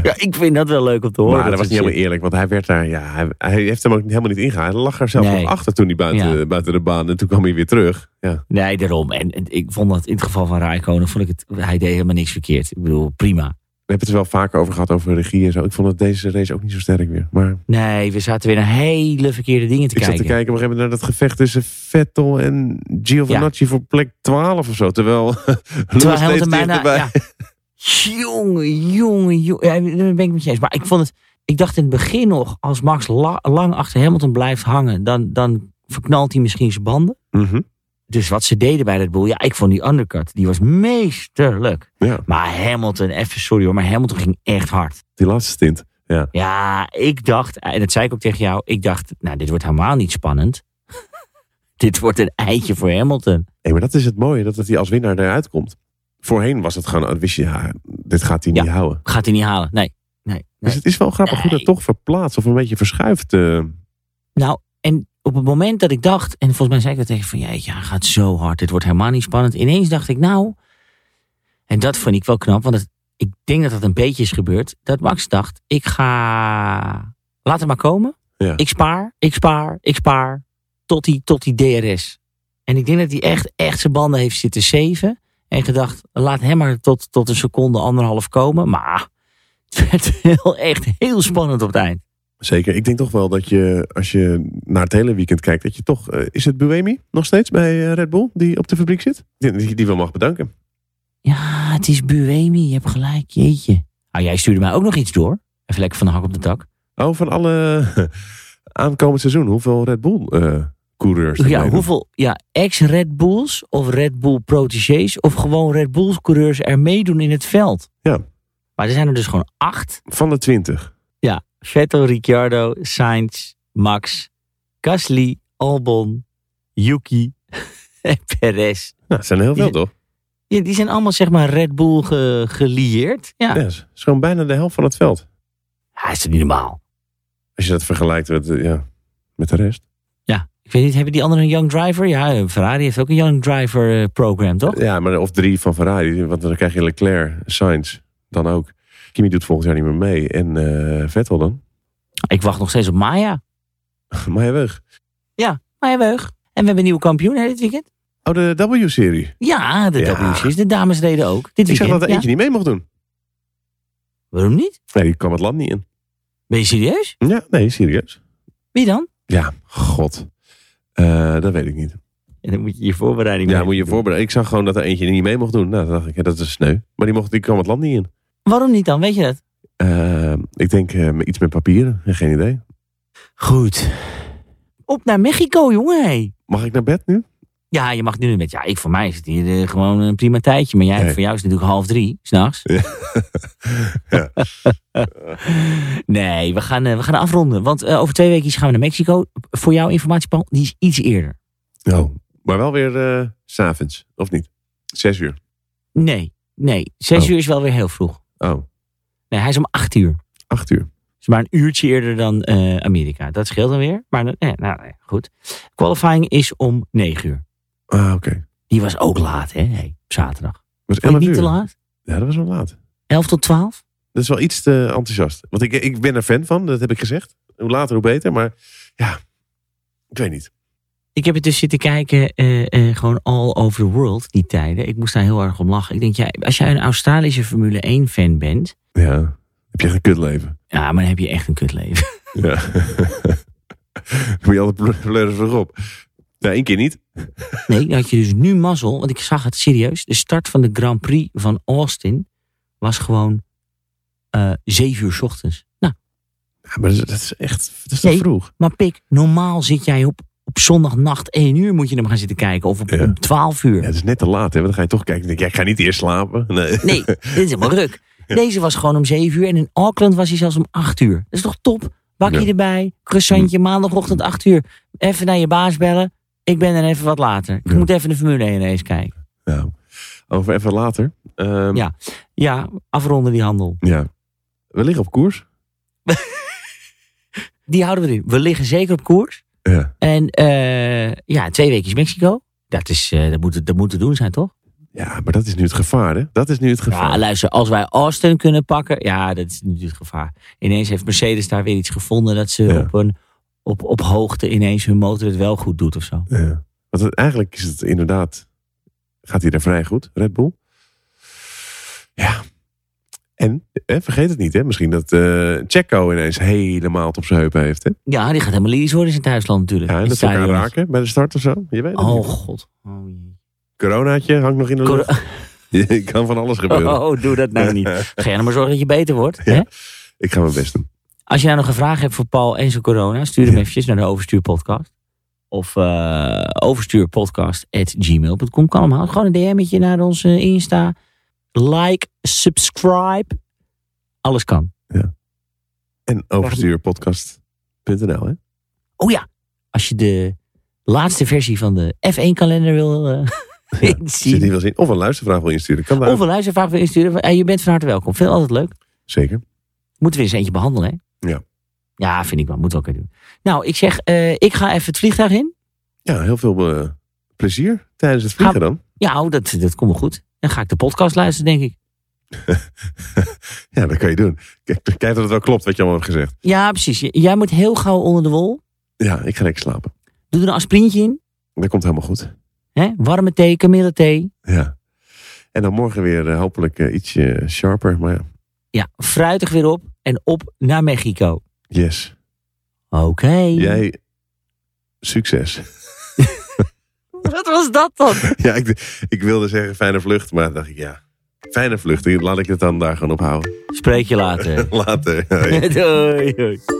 B: ja, ik vind dat wel leuk om te horen.
A: maar dat was
B: soort
A: niet
B: shit.
A: helemaal eerlijk, want hij werd daar, ja, hij, hij heeft hem ook helemaal niet ingehaald. Hij lag er zelf
B: Nee.
A: nog achter toen hij buiten, buiten de baan en toen kwam hij weer terug. Ja,
B: Nee, daarom. En, en ik vond dat in het geval van Rijkonen, vond ik het, hij deed helemaal niks verkeerd. Ik bedoel, prima.
A: We hebben het er wel vaker over gehad, over regie en zo. Ik vond dat deze race ook niet zo sterk weer. Maar
B: Nee, we zaten weer naar hele verkeerde dingen te
A: ik zat
B: kijken.
A: te kijken op een gegeven moment naar dat gevecht tussen Vettel en Giovinazzi voor plek 12 of zo. Terwijl [LAUGHS] Lewis
B: Hamilton
A: steeds
B: bijna-
A: dichterbij...
B: ja. Jongen, jongen, jongen. Ja, daar ben ik met je eens. Maar ik vond het. Ik dacht in het begin nog, als Max la- lang achter Hamilton blijft hangen, dan, dan verknalt hij misschien zijn banden.
A: Mhm.
B: Dus wat ze deden bij dat boel, ja, ik vond die undercut, die was meesterlijk.
A: Ja.
B: Maar Hamilton, even sorry hoor, maar Hamilton ging echt hard.
A: die laatste stint.
B: Ja, ik dacht, eh, en dat zei ik ook tegen jou, ik dacht, nou, dit wordt helemaal niet spannend. [LAUGHS] dit wordt een eitje voor Hamilton.
A: Nee, maar dat is het mooie, dat het hij als winnaar eruit komt. Voorheen was het gewoon, wist je, ja, dit gaat hij
B: Ja.
A: niet houden.
B: Gaat hij niet halen? Nee. nee, nee.
A: Dus het is wel grappig hoe dat
B: Nee.
A: toch verplaatst of een beetje verschuift. eh.
B: Nou, en op het moment dat ik dacht, en volgens mij zei ik dat tegen van, jeetje, hij gaat zo hard, dit wordt helemaal niet spannend. Ineens dacht ik, nou, en dat vond ik wel knap, want het- ik denk dat dat een beetje is gebeurd, dat Max dacht, ik ga, laat het maar komen.
A: Ja.
B: Ik spaar, ik spaar, ik spaar, tot die, tot die DRS. En ik denk dat hij echt, echt zijn banden heeft zitten zeven en gedacht, laat hem maar tot, tot een seconde, anderhalf komen. Maar het werd [LAUGHS] wel echt heel spannend op het eind.
A: Zeker. Ik denk toch wel dat je, als je naar het hele weekend kijkt, dat je toch... eh, is het Buemi nog steeds bij eh, Red Bull, die op de fabriek zit? Die, die, die wel mag bedanken.
B: Ja, het is Buemi, je hebt gelijk, jeetje. Nou, jij stuurde mij ook nog iets door. Even lekker van de hak op de tak.
A: Oh, van alle [LAUGHS] aankomend seizoen, hoeveel Red Bull eh coureurs er
B: Ja,
A: meedoen?
B: hoeveel ja, ex-Red Bulls of Red Bull protégés of gewoon Red Bulls coureurs er meedoen in het veld.
A: Ja.
B: Maar er zijn er dus gewoon acht.
A: Van de twintig.
B: Ja, Vettel, Ricciardo, Sainz, Max, Gasly, Albon, Yuki [LAUGHS] en Perez.
A: Nou, het zijn er heel veel,
B: Is-
A: toch?
B: Ja, die zijn allemaal zeg maar Red Bull ge- gelieerd. Ja.
A: Ja, dat is gewoon bijna de helft van het veld.
B: Hij is het niet normaal.
A: Als je dat vergelijkt met, eh, ja, met de rest.
B: Ja, ik weet niet, hebben die anderen een Young Driver? Ja, eh, Ferrari heeft ook een Young Driver eh, program, toch?
A: Ja, maar of drie van Ferrari. Want dan krijg je Leclerc, Sainz, dan ook. Kimi doet volgend jaar niet meer mee. En eh, Vettel dan. [LAUGHS]
B: Ik wacht nog steeds op Maya.
A: Maar hij weg.
B: Maya Weug. En we hebben een nieuwe kampioen hè, dit weekend.
A: Oh, de W-serie.
B: Ja, de
A: Ja.
B: WC's. De dames reden ook. Dit
A: Ik zag
B: weekend.
A: dat er
B: ja.
A: eentje niet mee mocht doen.
B: Waarom niet?
A: Nee, die kwam het land niet in.
B: Ben je serieus?
A: Ja, nee, serieus.
B: Wie dan?
A: Ja, god. Eh, dat weet ik niet.
B: En dan moet je je voorbereiding
A: Ja,
B: mee
A: moet je je voorbereiden. Ik zag gewoon dat er eentje niet mee mocht doen. Nou, dan dacht ik, ja, dat is sneu. Maar die, mocht, die kwam het land niet in.
B: Waarom niet dan? Weet je dat?
A: Eh, ik denk eh, iets met papieren. Geen idee.
B: Goed. Op naar Mexico, jongen. hé.
A: Mag ik naar bed nu?
B: Ja, je mag nu met. Ja, ik, voor mij is het hier eh, gewoon een prima tijdje. Maar jij,
A: Nee.
B: voor jou is het natuurlijk half drie, s'nachts.
A: [LAUGHS] Ja.
B: nee, we gaan, eh, we gaan afronden. Want eh, over twee weken gaan we naar Mexico. Voor jouw informatie, Paul, die is iets eerder.
A: Oh. Maar wel weer eh, s s'avonds, of niet? Zes uur.
B: Nee, nee. Zes
A: Oh.
B: uur is wel weer heel vroeg.
A: Oh,
B: Nee, hij is om acht uur.
A: acht uur.
B: Dus maar een uurtje eerder dan eh, Amerika. Dat scheelt dan weer. Maar dan- eh, nou, eh, goed. Qualifying is om 9 uur.
A: Ah, oké.
B: Die was ook laat, hè? Hey, op zaterdag.
A: Was
B: Vond je
A: 11
B: het niet
A: uur.
B: te laat?
A: Ja, dat was wel laat.
B: 11 tot 12?
A: Dat is wel iets te enthousiast. Want ik, ik ben er fan van, dat heb ik gezegd. Hoe later, hoe beter. Maar ja, ik weet niet.
B: Ik heb het dus zitten kijken, eh, eh, gewoon all over the world, die tijden. Ik moest daar heel erg om lachen. Ik denk, ja, als jij een Australische Formule 1-fan bent...
A: Ja, heb je echt een kutleven.
B: Ja, maar dan heb je echt een kutleven.
A: Ja. Dan [LAUGHS] moet je altijd pleuren voor op. Nou, één keer niet.
B: Nee, dan had je dus nu mazzel, want ik zag het serieus. De start van de Grand Prix van Austin was gewoon eh 7 uur 's ochtends. Nou,
A: Ja, maar dat is- dat is echt dat is te
B: Nee.
A: vroeg.
B: Maar Pik, normaal zit jij op, op zondagnacht 1 uur moet je hem gaan zitten kijken. Of op,
A: Ja.
B: om 12
A: Ja,
B: uur.
A: dat is net te laat, hè. Want dan ga je toch kijken. Dan denk je, ja, ik ga niet eerst slapen. Nee.
B: Nee, dit is helemaal
A: [LAUGHS]
B: ruk. Deze was gewoon om 7 uur. En in Auckland was hij zelfs om 8 uur. Dat is toch top? Bakje
A: Ja. Hm.
B: erbij, croissantje, maandagochtend 8 uur. Even naar je baas bellen. Ik ben er even wat later. Ik
A: Ja.
B: moet even de Formule 1 eens kijken.
A: Nou, [LAUGHS] over even later. Ehm,
B: Ja. Ja, afronden die handel.
A: ja. We liggen op koers.
B: Die houden we nu. We liggen zeker op koers.
A: Ja.
B: En eh, ja, twee weken is Mexico. Dat, is, eh, dat, moet, dat moet te doen zijn, toch?
A: Ja, maar dat is nu het gevaar, hè? Dat is nu het gevaar.
B: Ja, luister, als wij Austin kunnen pakken, ja, dat is natuurlijk het gevaar. Ineens heeft Mercedes daar weer iets gevonden dat ze
A: Ja.
B: op, een, op, op hoogte ineens hun motor het wel goed doet of zo.
A: Ja. Want het- eigenlijk is het inderdaad... Gaat hij er vrij goed, Red Bull? Ja. En hè, vergeet het niet, hè? misschien dat eh Checo ineens helemaal het op zijn heup heeft. Hè?
B: Ja, die gaat helemaal lyrisch worden in Duitsland natuurlijk.
A: Ja, en
B: In
A: dat ze elkaar
B: stadions.
A: raken bij de start of zo. Je weet het
B: Oh
A: niet.
B: god. Oh, jee.
A: Coronaatje hangt nog in de
B: Cor-
A: lucht. [LAUGHS] Je kan van alles gebeuren.
B: [LAUGHS] oh, doe dat
A: [LAUGHS]
B: nou niet. Ga jij nou maar zorgen dat je beter wordt. Hè?
A: Ja. Ik ga mijn best doen.
B: Als jij nog een vraag hebt voor Paul en zijn corona, stuur hem
A: Ja.
B: eventjes naar de Overstuurpodcast. Of eh overstuurpodcast.gmail.com. Kan hem Gewoon een DM'tje naar onze Insta. Like, subscribe. Alles kan.
A: En overstuurpodcast.nl. Hè?
B: Oh ja, als je de laatste versie van de F1-kalender wil eh, [LAUGHS]
A: Zit die
B: zien.
A: wel eens in? Of een luistervraag wil je insturen. Kan daar
B: Of een luistervraag wil insturen. eh, Je bent van harte welkom. Vind het altijd leuk.
A: Zeker.
B: Moeten we eens eentje behandelen, hè?
A: Ja.
B: Ja, vind ik wel. Moeten we ook even doen. Nou, ik zeg, eh, ik ga even het vliegtuig in.
A: Ja, heel veel eh, plezier tijdens het vliegen dan.
B: Ja, oh, dat, dat komt wel goed. Dan ga ik de podcast luisteren, denk ik.
A: Ja, dat kan je doen. Kijk, kijk dat het wel klopt wat je allemaal hebt gezegd.
B: Ja, precies. J- Jij moet heel gauw onder de wol.
A: Ja, ik ga lekker slapen.
B: Doe er een aspirintje in.
A: Dat komt helemaal goed.
B: Hè? Warme thee, kamille thee.
A: Ja. En dan morgen weer eh, hopelijk eh, ietsje sharper. Maar ja,
B: Ja, fruitig weer op en op naar Mexico.
A: yes.
B: Oké.
A: Jij, succes. [LAUGHS]
B: Wat was dat dan?
A: ja, ik, ik wilde zeggen fijne vlucht, maar dacht ik ja. Fijne vlucht, laat ik het dan daar gewoon ophouden.
B: Spreek je later.
A: Later. [LAUGHS] Hoi.
B: [LAUGHS] doei, doei.